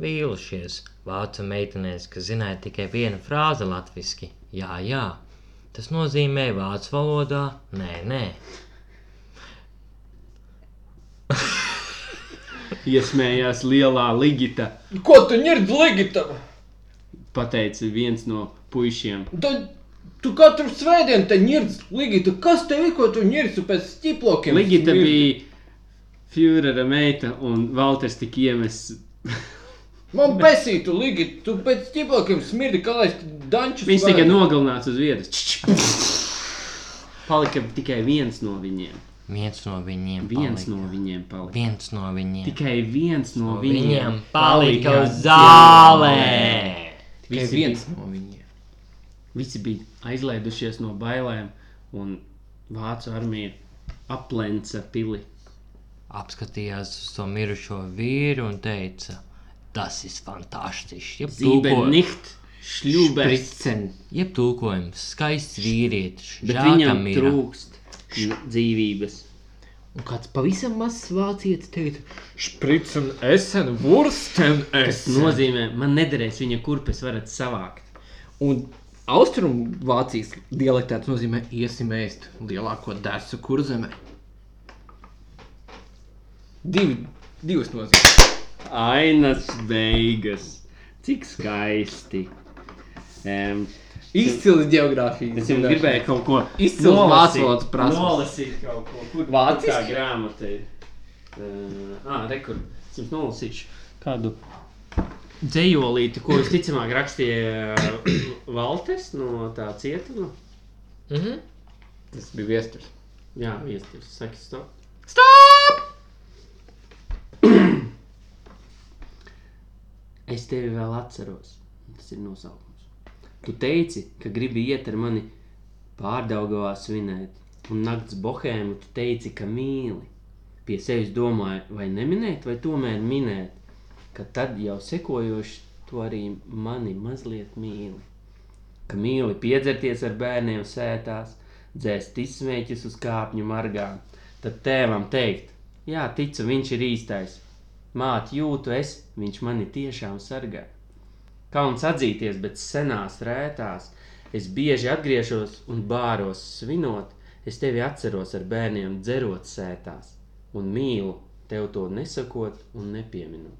S2: vīlušies vācu meitenēs, kas zināja tikai vienu frāzi latviešu. Jā, jā, tas nozīmē vācu valodā, nē, nē.
S3: Iesmējās lielā ligita,
S10: Ko tu ņird legita?
S3: pateica viens no puišiem.
S10: Tad tu katru svētdienu te ņird legita. Kas tev ir, ko tu ņird pēc stiplokiem?
S3: Ligita bija Führera meita, un Valters tika iemests.
S10: Man besītu legita, tu pēc stiplokiem smirdi, kā lai dančus.
S3: Viņš nu- tika nogalināts uz vietas. Palika tikai viens no viņiem.
S2: Viens no viņiem
S3: Viens
S2: palika.
S3: no viņiem palika.
S2: Viens no viņiem.
S3: Tikai viens no
S2: Viņiem
S3: viņiem
S2: palika uz
S3: zālē.
S2: zālē.
S7: Tikai
S3: Visi
S7: viens bija. no viņiem.
S3: Visi bija aizlaidušies no bailēm, un vācu armija aplenca pili.
S2: apskatījās uz to mirušo vīru un teica, tas ir fantastiski. Jeb tulko-
S3: Zīmēnikt, šļūbēs,
S7: Pricen.
S2: Jeb tulkojums, skaists vīrietis.
S3: bet
S2: žēl, ka
S3: viņam
S2: mira.
S3: trūkst dzīvības.
S7: Un kāds pavisam mazs vācietis teica: Spricen, esen, wursten,
S3: Tas nozīmē, man nederēs viņa kurpes varat savākt.
S7: Un austrumu vācijas dialektā tas nozīmē iesim ēst lielāko dārstu kurzemē. Divi, divas nozīmes.
S3: Ainas beigas, cik skaisti. Um,
S7: Izcili geogrāfijas.
S3: es jau gribēju kaut ko
S7: Izcils vācu valodas prasmes.
S3: Nolasīt kaut ko, kur
S7: Vāciski?
S3: tā grāmata ir. Uh, ah, rekur, es jums nolasīšu kādu dzējolīti, ko visticamāk rakstīja ā, Valters no tā cietuma.
S7: Tas bija viesturs.
S3: Jā, viesturs, saki stop. Stop! [CLEARS THROAT] es tevi vēl atceros. Tas ir nosaukums. Tu teici, ka gribi iet ar mani pārdaugavā svinēt, un nakts bohēmu tu teici, ka mīli. Pie sevis domāju, vai neminēt, vai tomēr minēt, ka tad jau sekojoši tu arī mani mazliet mīli. Ka mīli piedzerties ar bērniem sētās, dzēst izsmēķus uz kāpņu margām, tad tēvam teikt, jā, ticu, viņš ir īstais. Māt jūtu es, viņš mani tiešām sargā. Kauns atzīties, bet senās rētās es bieži atgriežos un bāros svinot, es tevi atceros ar bērniem dzerot sētās un mīlu tev to nesakot un nepieminot.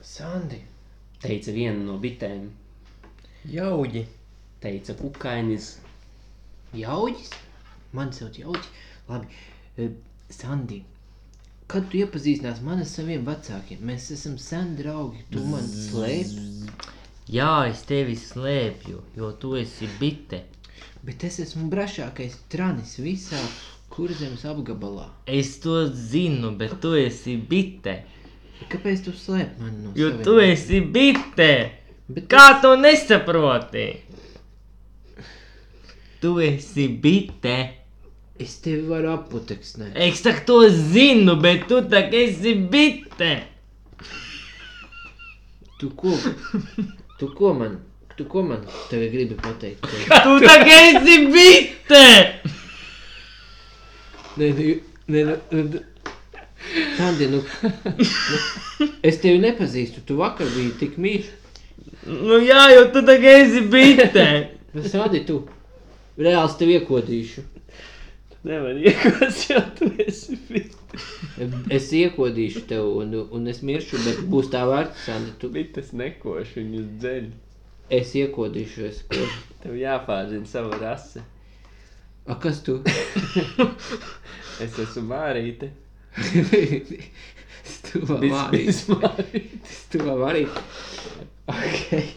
S7: Sandi.
S3: Teica viena no bitēm,
S7: Jauģi.
S3: teica kukainis,
S4: Jauģis? Man sauc Jauģis. Labi, e, Sandi. Kad tu iepazīstinās mani ar saviem vecākiem, mēs esam sen draugi. Tu man slēp.
S2: Jā, es tevi slēpju, jo tu esi bite.
S4: bet es esmu brašākais tranis visā kurzemes apgabalā.
S2: Es to zinu, bet tu esi bite.
S4: Kāpēc tu slēp mani no
S2: Jo
S4: saviem
S2: tu esi bite.
S4: Bet
S2: Kā tu nesaproti? Tu esi bite.
S4: Es tevi varu aputeksnēt.
S2: Es tak to zinu, bet tu tak esi bite.
S4: Tu ko? Tu ko man? Tu ko man tevi gribi pateikt?
S2: Tu tak esi bite.
S4: Nē, nē, nē, nē, nē. Sandi, nu, nu, es tevi nepazīstu. Tu vakar biji tik mīļš.
S2: Nu jā, jo tu tak esi bite.
S4: Nu, Sandi, tu reāli tevi iekodīšu.
S7: [LAUGHS]
S3: Nevar iekos, jo tu esi bijis.
S4: Es iekodīšu tev, un, un es miršu, bet būs tā vērts, Sandi. Tu,
S7: Bites nekoš, viņus dzeļ.
S4: es iekodīšu, es kodu.
S7: Tev jāpārzina sava rase.
S4: A, kas tu? [LAUGHS]
S7: Es esmu Mārīte.
S4: Stuvā vārīt. Stuvā vārīt. Ok.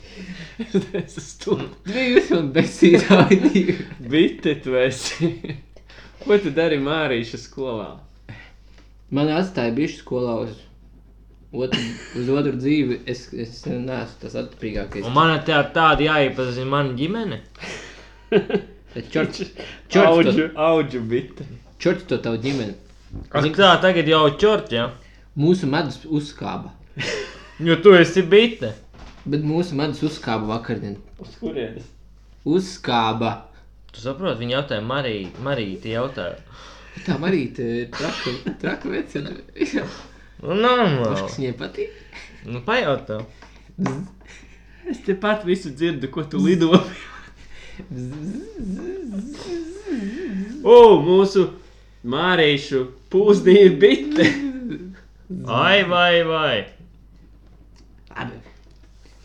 S7: Es esmu stulba.
S4: Divas un besīdāji divi.
S7: Bite tu esi. [LAUGHS] Ko tu dari Mārīša skolā?
S4: Man atstāja bišķi skolā uz otru, uz otru dzīvi. Es, es neesmu tas atpirīgākais.
S2: Un man tā tāda jāiepazīst mana ģimene.
S4: Bet čorts, čorts,
S7: Audžu,
S4: to,
S7: audžu bite.
S4: čorts to tavu ģimeni.
S2: Ak, tā tagad jau čort, jā. Ja?
S4: Mūsu medus uzkāba.
S2: Jo tu esi bite.
S4: Bet mūsu medus uzkāba vakardien.
S7: Uz kurienes?
S4: Uzkāba.
S2: Tu saproti, viņa jautāja, Marija, Marija, tie jautāja.
S4: Tā Marīte ir traka, traka eh, vecena. Jā,
S2: Nu, normāli.
S4: Kas viņai patīk?
S2: Nu, pajautā.
S7: Es tepat visu dzirdu, ko tu lido. [LAUGHS] O, mūsu Mārīšu pūzdī ir bite.
S2: Ai, vai, vai.
S4: Labi.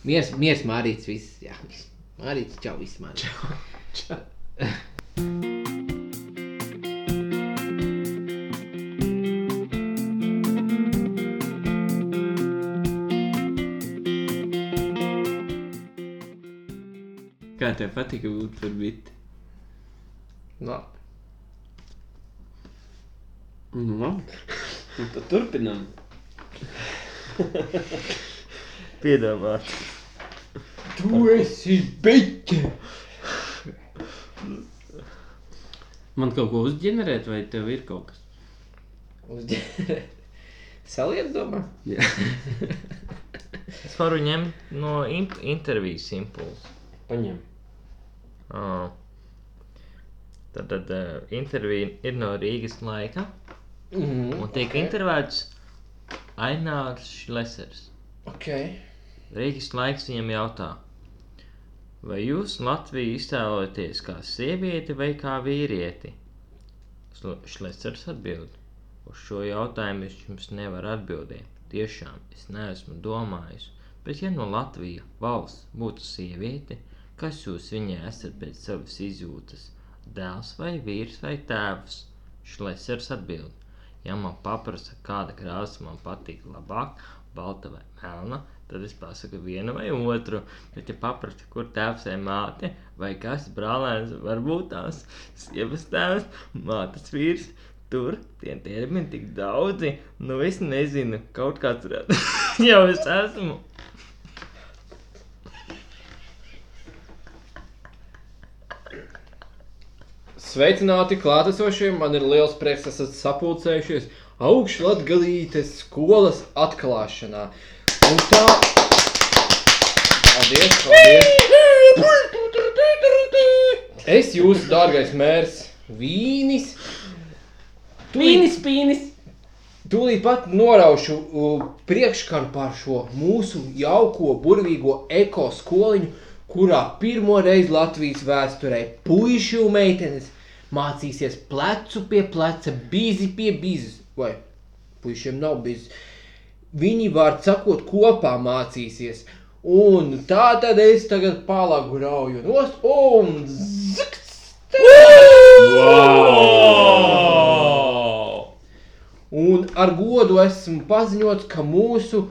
S4: Miers, miers, Mārīts, viss. Jā, viss. Mārīts, čau, viss man. Čau. čau.
S7: Kā tev patīk būt par biti?
S4: Labi.
S3: Nu, labi.
S7: Un tad turpinām.
S2: Piedomā.
S3: Man kaut ko uzģenerēt, vai tev ir kaut kas?
S4: Uzģērē. [LAUGHS] Saliet domā.
S2: Es varu ņemt no imp intervijas impulsu.
S3: Paņem.
S2: Oh. Tad, tad uh, intervija ir no Rīgas laika. Mm
S4: Mhm.
S2: -hmm, un tiek okay. intervētas Ainārs Šlesers.
S4: Ok.
S2: Rīgas laiks viņam jautā, vai jūs Latviju iztēlojaties kā sievieti vai kā vīrieti? Sl- Šlesers atbild: Uz šo jautājumu es jums nevaru atbildēt. Tiešām es neesmu domājis, bet ja no Latvijas valsts būtu sieviete, kas jūs viņai esat pēc savas izjūtas, dēls vai vīrs vai tēvs? Šlesers atbild: Ja man paprasa, kāda krāsa man patīk labāk, balta vai melna, tad es pasaku vienu vai otru. Bet, ja paprasta, kur tēvs vai māte, vai kas brālēns var būt tās sievas tēvs, mātes vīrs, tur tie termini tik daudzi, nu es nezinu, kaut kāds ra- [LAUGHS] jau es esmu.
S7: Sveicināti klātesošie, man ir liels prieks, ka esat sapulcējušies augšlatgalītes skolas atklāšanā. Un tā... Paldies, paldies! Es jūsu dārgais mērs, Vīnis,
S10: Pīnis, pīnis!
S7: tūlīt pat noraušu uh, priekškanu pār šo mūsu jauko, burvīgo ekoskoliņu, kurā pirmo reizi Latvijas vēsturē puiši un meitenes mācīsies plecu pie pleca, bīzi pie bīzes. Vai puišiem nav bijis? Viņi var sakot, kopā mācīsies. Un tā tad es tagad palagu rauju nost un zikts! Un ar godu esmu paziņots, ka mūsu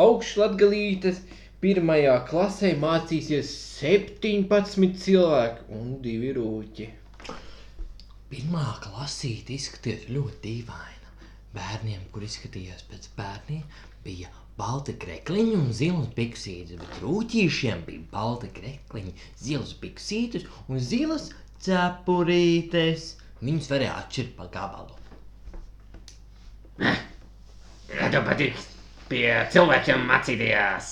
S7: augšlatvijas
S4: Pirmajā klasē mācīsies 17 cilvēki un 2 rūķi.
S2: Pirmā klasīte izskatījās ļoti dīvaina. Bērniem, kur izskatījās pēc bērniem, bija balti krekliņi un zilas piksītes, bet rūtīšiem bija balti krekliņi, zilas piksītes un zilas cepurītes. Viņus varēja atšķirt pa gabalu.
S7: Kā tev patīk pie cilvēkiem mācīties?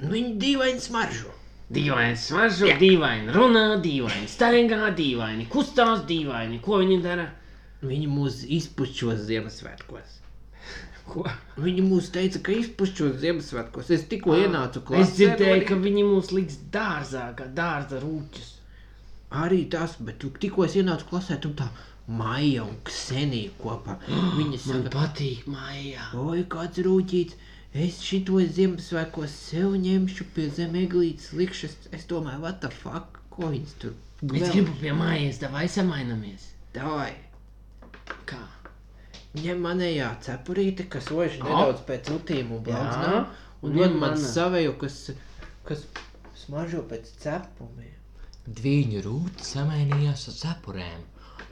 S4: Nu, Viņi dīvaini smaržo.
S7: Dīvaini smaržu,
S3: Jā. Dīvaini runā, dīvaini staigā, dīvaini kustās, dīvaini. Ko viņi dara?
S4: Viņi mūs izpušķos Ziemassvētkos.
S7: Ko?
S4: Viņi mums teica, ka izpušķos Ziemassvētkos. Es tikko
S2: Ah,
S4: ienācu klasē. nu,
S3: Es dzirdēju, ka viņi mūs liks dārzā, kā dārza rūķis.
S4: Arī tas, bet tu tikko es ienācu klasē, tur tā maija un ksenija kopā.
S2: [GASPS]
S4: Viņas
S3: Man
S4: saka,
S3: patīk, maijā.
S4: oi, kāds rūķīts, es šito Ziemassvētkos sev ņemšu pie zemeglītes likšas. Es domāju, what the fuck, ko viņas tur
S3: Es gribu pie mājas, vai samainamies.
S4: Davai,
S3: Kā?
S4: ņem manējā cepurīte, kas ož nedaudz pēc utīm un blaudznām, un
S3: ņem
S4: Ah. ņem man
S3: manā.
S4: savēju, kas, kas smaržo pēc cepumiem.
S2: Dviņu rūti samainījās ar cepurēm.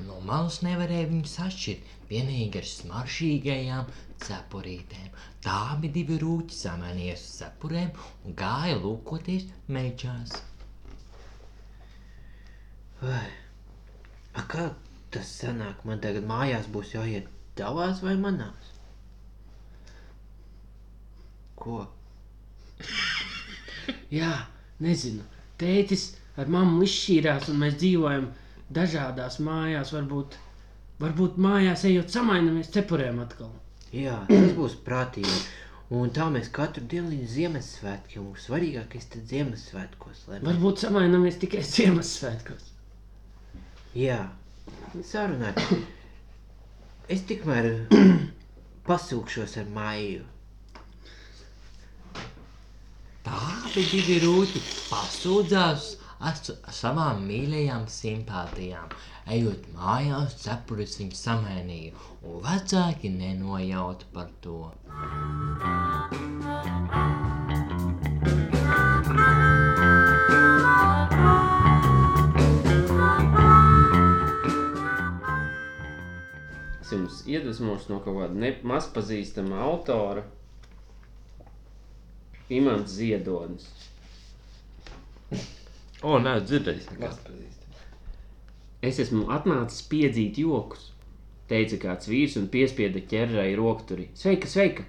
S2: No malas nevarēja viņus atšķirt, vienīgi ar smaržīgajām cepurītēm. Tā abi divi rūķi samainījās ar cepurēm un gāja lūkoties mežās.
S4: Vai. A kā tas sanāk? Man tagad mājās būs jāiet tavās vai manās? Ko?
S3: Jā, nezinu. Tētis ar mammu izšķīrās, un mēs dzīvojam dažādās mājās. Varbūt, varbūt mājās ejot samainamies cepurēm atkal.
S4: Jā, tas būs prātīgi. Un tā mēs katru dienu līdz Ziemassvētkiem. Un svarīgākais tad Ziemassvētkos. Lai... mēs-
S3: Varbūt samainamies tikai Ziemassvētkos.
S4: Jā, sarunāt. Es tikmēr [CLEARS THROAT] pasūkšos ar māju.
S2: Tādi divi rūti pasūdzās ar s- savām mīļajām simpātijām. Ejot mājās, cepures viņi samainīja, un vecāki nenojauta par to.
S10: Es jums iedvesmošu no kaut kāda ne- mazpazīstama autora. Imants Ziedonis.
S6: O, nē, dzirdējis. nekā.
S10: Es esmu atnācis piedzīt joks, teica kāds vīrs un piespieda ķerrai rokturi. Sveika, sveika!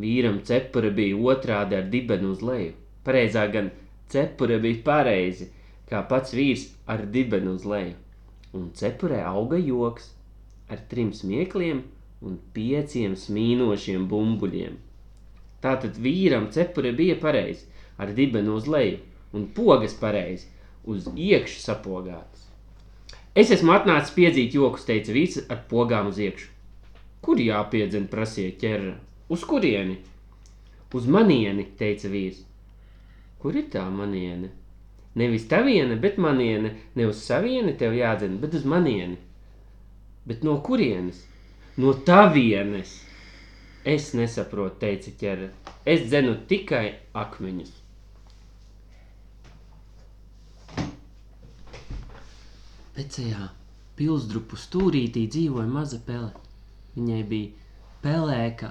S10: Vīram cepura bija otrādi ar dibenu uz leju. Pareizā gan cepura bija pareizi, kā pats vīrs ar dibenu uz leju. Un cepurē auga joks ar trim smiekliem un pieciem smīnošiem bumbuļiem. Tātad vīram cepure bija pareizi, ar dibenu uz leju un pogas pareizi, uz iekšu sapogātas. Es esmu atnācis piedzīt joks, teica vīrs ar pogām uz iekšu. Kur jāpiedzina, prasīja ķerra? Uz kurieni? Uz manieni, teica vīrs. Kur ir tā maniene? Nevis taviene, bet maniene, ne uz savieni tev jādzina, bet uz manieni. Bet no kurienes? No tavienes! Es nesaprotu, teica ķēra. Es dzenu tikai akmeņus.
S3: Vecajā pilsdrupu stūrītī dzīvoja maza pele. Viņai bija pelēka,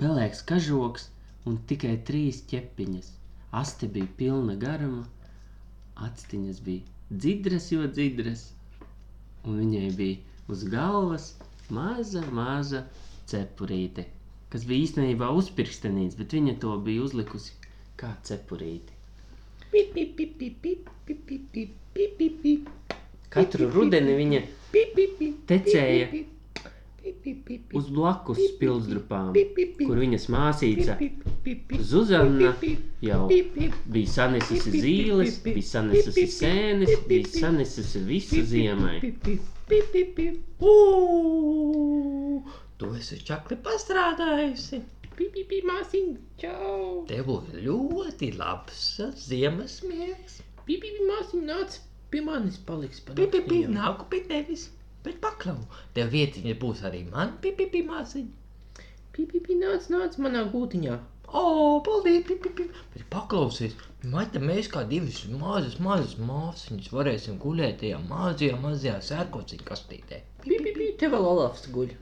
S3: pelēks kažoks un tikai trīs ķepiņas. Aste bija pilna garuma, atstiņas bija dzidras, jo dzidras, un viņai bija uz galvas maza, maza cepurīte, kas bija īstenībā uzpirkstenīts, bet viņa to bija uzlikusi kā cepurīti.
S5: Pip, pip, pip, pip, pip, pip, pip, pip, pip, pip, pip.
S3: Katru rudeni viņa
S5: Pip, pip, pip,
S3: tecēja
S5: pip, pip, pip, pip,
S3: uz blakus pilsdrupām,
S5: pip, pip, pip,
S3: kur viņas māsīca
S5: pip, pip, pip,
S3: Zuzana
S5: pip,
S3: jau
S5: pip, pip.
S3: bija sanesusi zīles, bija sanesusi sēnes, bija sanesusi visu ziemai.
S5: Pip, pip, pip, pip, pip. Ū!
S6: Tu esi čakli pastrādājusi.
S5: Pip, pip, pip, māsiņ, čau!
S6: Tev būs ļoti labs ziemas miegs.
S5: Pip, pip, māsiņ, nāc pie manis paliks. pa nakti,
S6: Pipipi,
S5: jā.
S6: nāku pie tevis, bet paklau. Tev vietiņa būs arī man, pipipi māsiņa.
S4: Hmm.
S5: Pip, pip, pip, nāc, nāc manā gūtiņā.
S2: O, paldies! Pip, pip, pip. Bet paklausies, vai te mēs kā divas mazas, mazas māsiņas varēsim gulēt tajā mazajā, mazajā sērkociņa kastītē?
S4: Bija, bija, bija, te vēl Olafs guļ.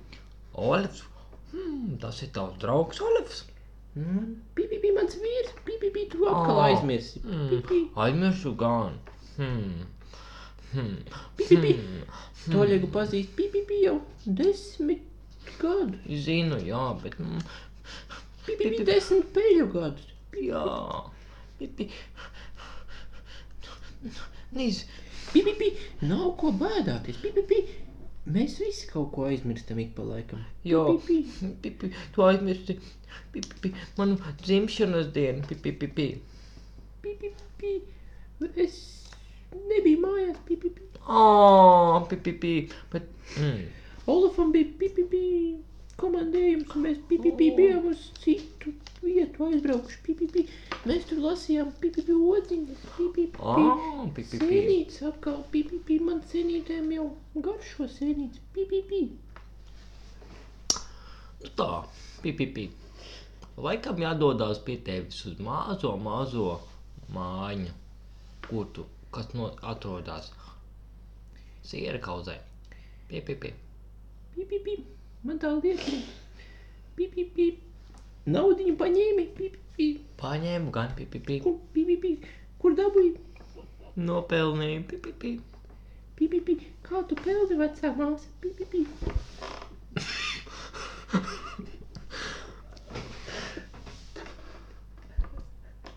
S2: Olivs, mm, tas ir tavs draugs Olivs.
S4: Bija, bija, bija mans vīrs, bija, bija, bija, tu atkal
S2: Ā.
S4: aizmirsi. Bija,
S2: Hmm.
S4: bija,
S2: Aizmirsu gan. Hmm. Hmm.
S4: bija, bija. To lieku pazīst, bija, bija, bija jau desmit gadu.
S2: Hmm. Zinu, jā, bet. Mm,
S4: Bija, bija, bija desmit peļu gadus.
S2: jā. Pipi. Nīz.
S4: Bija, bija, bija, nav ko bēdāties. Bija, bija, bija. Mēs visi kaut ko aizmirstam ik pa laikam.
S2: Jā, pipi. Tu aizmirsti. Pipi. Manu dzimšanas dienu. Pipi. Pipi.
S4: Bija, bija, bija. Es nebiju mājās, bija, bija, bija.
S2: Oh, pipi. Pipi. Bet. Mm.
S4: Olafam bija, bija, bija, bija komandējums, un mēs bija, bija, bija,
S2: Oh.
S4: bijām uz citu vietu aizbraukuši. Bija, bija, bija. Mēs tur lasījām, bija, bija, bija odiņas, bija, bija, bija.
S2: Oh, pipi. Pipi.
S4: Sēnīts atkal, bija, bija, bija, man sēnītēm jau garšo sēnīts, bija, bija, bija.
S2: Nu Tā. Pipi. Pipi. Laikam jādodas pie tevis uz mazo, mazo mājiņu, kur tu kas no, atrodas siera kauzē. Pipi. Pipi.
S4: Pip, pip, pip. Man tā lieta ir. Pip, pip, pip. Naudiņu paņēmi, pip, pip,
S2: Paņēmu gan pipi. Pipi.
S4: kur, pip, pip, pip. kur dabūji,
S2: Nopelnīju. Pipi. Pipi.
S4: pip, pip, pip. kā tu peldi
S3: Tá
S4: vecā māsa, pip, pip, pip.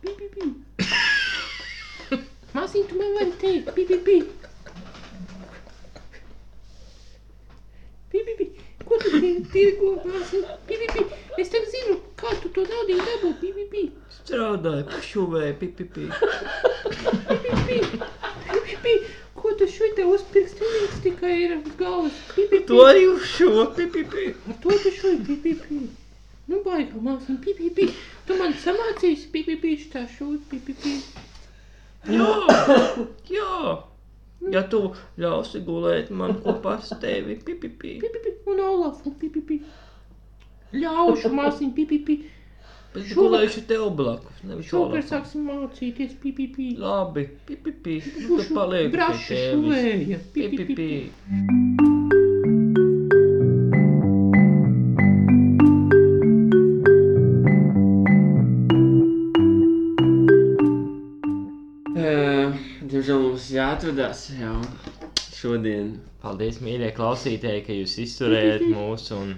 S4: Pip, pip, pip. Māsīn, tu man vari teikt, pip, pip, pip. Pip, pip, pip. Ko tu tie- tirgo,
S3: assim?
S4: māsīn? Pip, pip, pip. Es tev zinu, kā tu to naudiņu
S3: tá
S4: dabū, pip, pip, pip.
S2: Strādāju, pašuvēju, pipipi.
S4: Pipi, ko tu šeit
S3: então?
S4: te uzpirksi? Viņš tikai ir uz galvas. Pipi,
S2: To arī uz šo pipipi.
S4: to tu šeit pipi. pipi. Nu, baigā māsīm, pipi, pipi. Tu man samācīsi, pipi, pipi, tā šūt, pipi, pipi.
S2: Jā, jā. Ja tu ļausi gulēt man kopā ar tevi, pipipi.
S4: Pipi, un Olafu, pipi, pipi. Ļaušu māsīm, pipi, pipi.
S2: Bet es
S4: Šovakar-
S2: gulēšu tev blakus, nevis
S4: Šovakar
S2: šovakar.
S4: sāksim mācīties, pipi, pipi.
S2: Labi, pipipi. Nu, tad paliek pie
S4: Braši
S2: tevis.
S4: šuvēja, pipi,
S2: Pipipi.
S4: pipi.
S3: Ē, Diemžēl mums jāatvedās jau šodien.
S11: Paldies, mīļie klausītāji, ka jūs izturējāt mūsu. Un...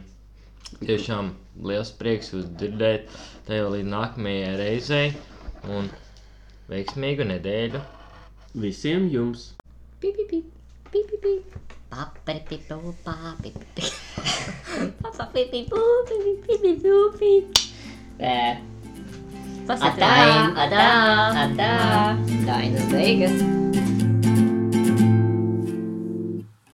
S11: Tiešām liels prieks jūs dzirdēt. Te jau līdz nākamajai reizei. Un veiksmīgu nedēļu!
S3: Visiem jums!
S4: Pipi, pipi, pipi, pipi.
S1: Papripipu, papipipi. Papapipipu, pipipipipu, pip. Atā, atā, atā. Dainas beigas.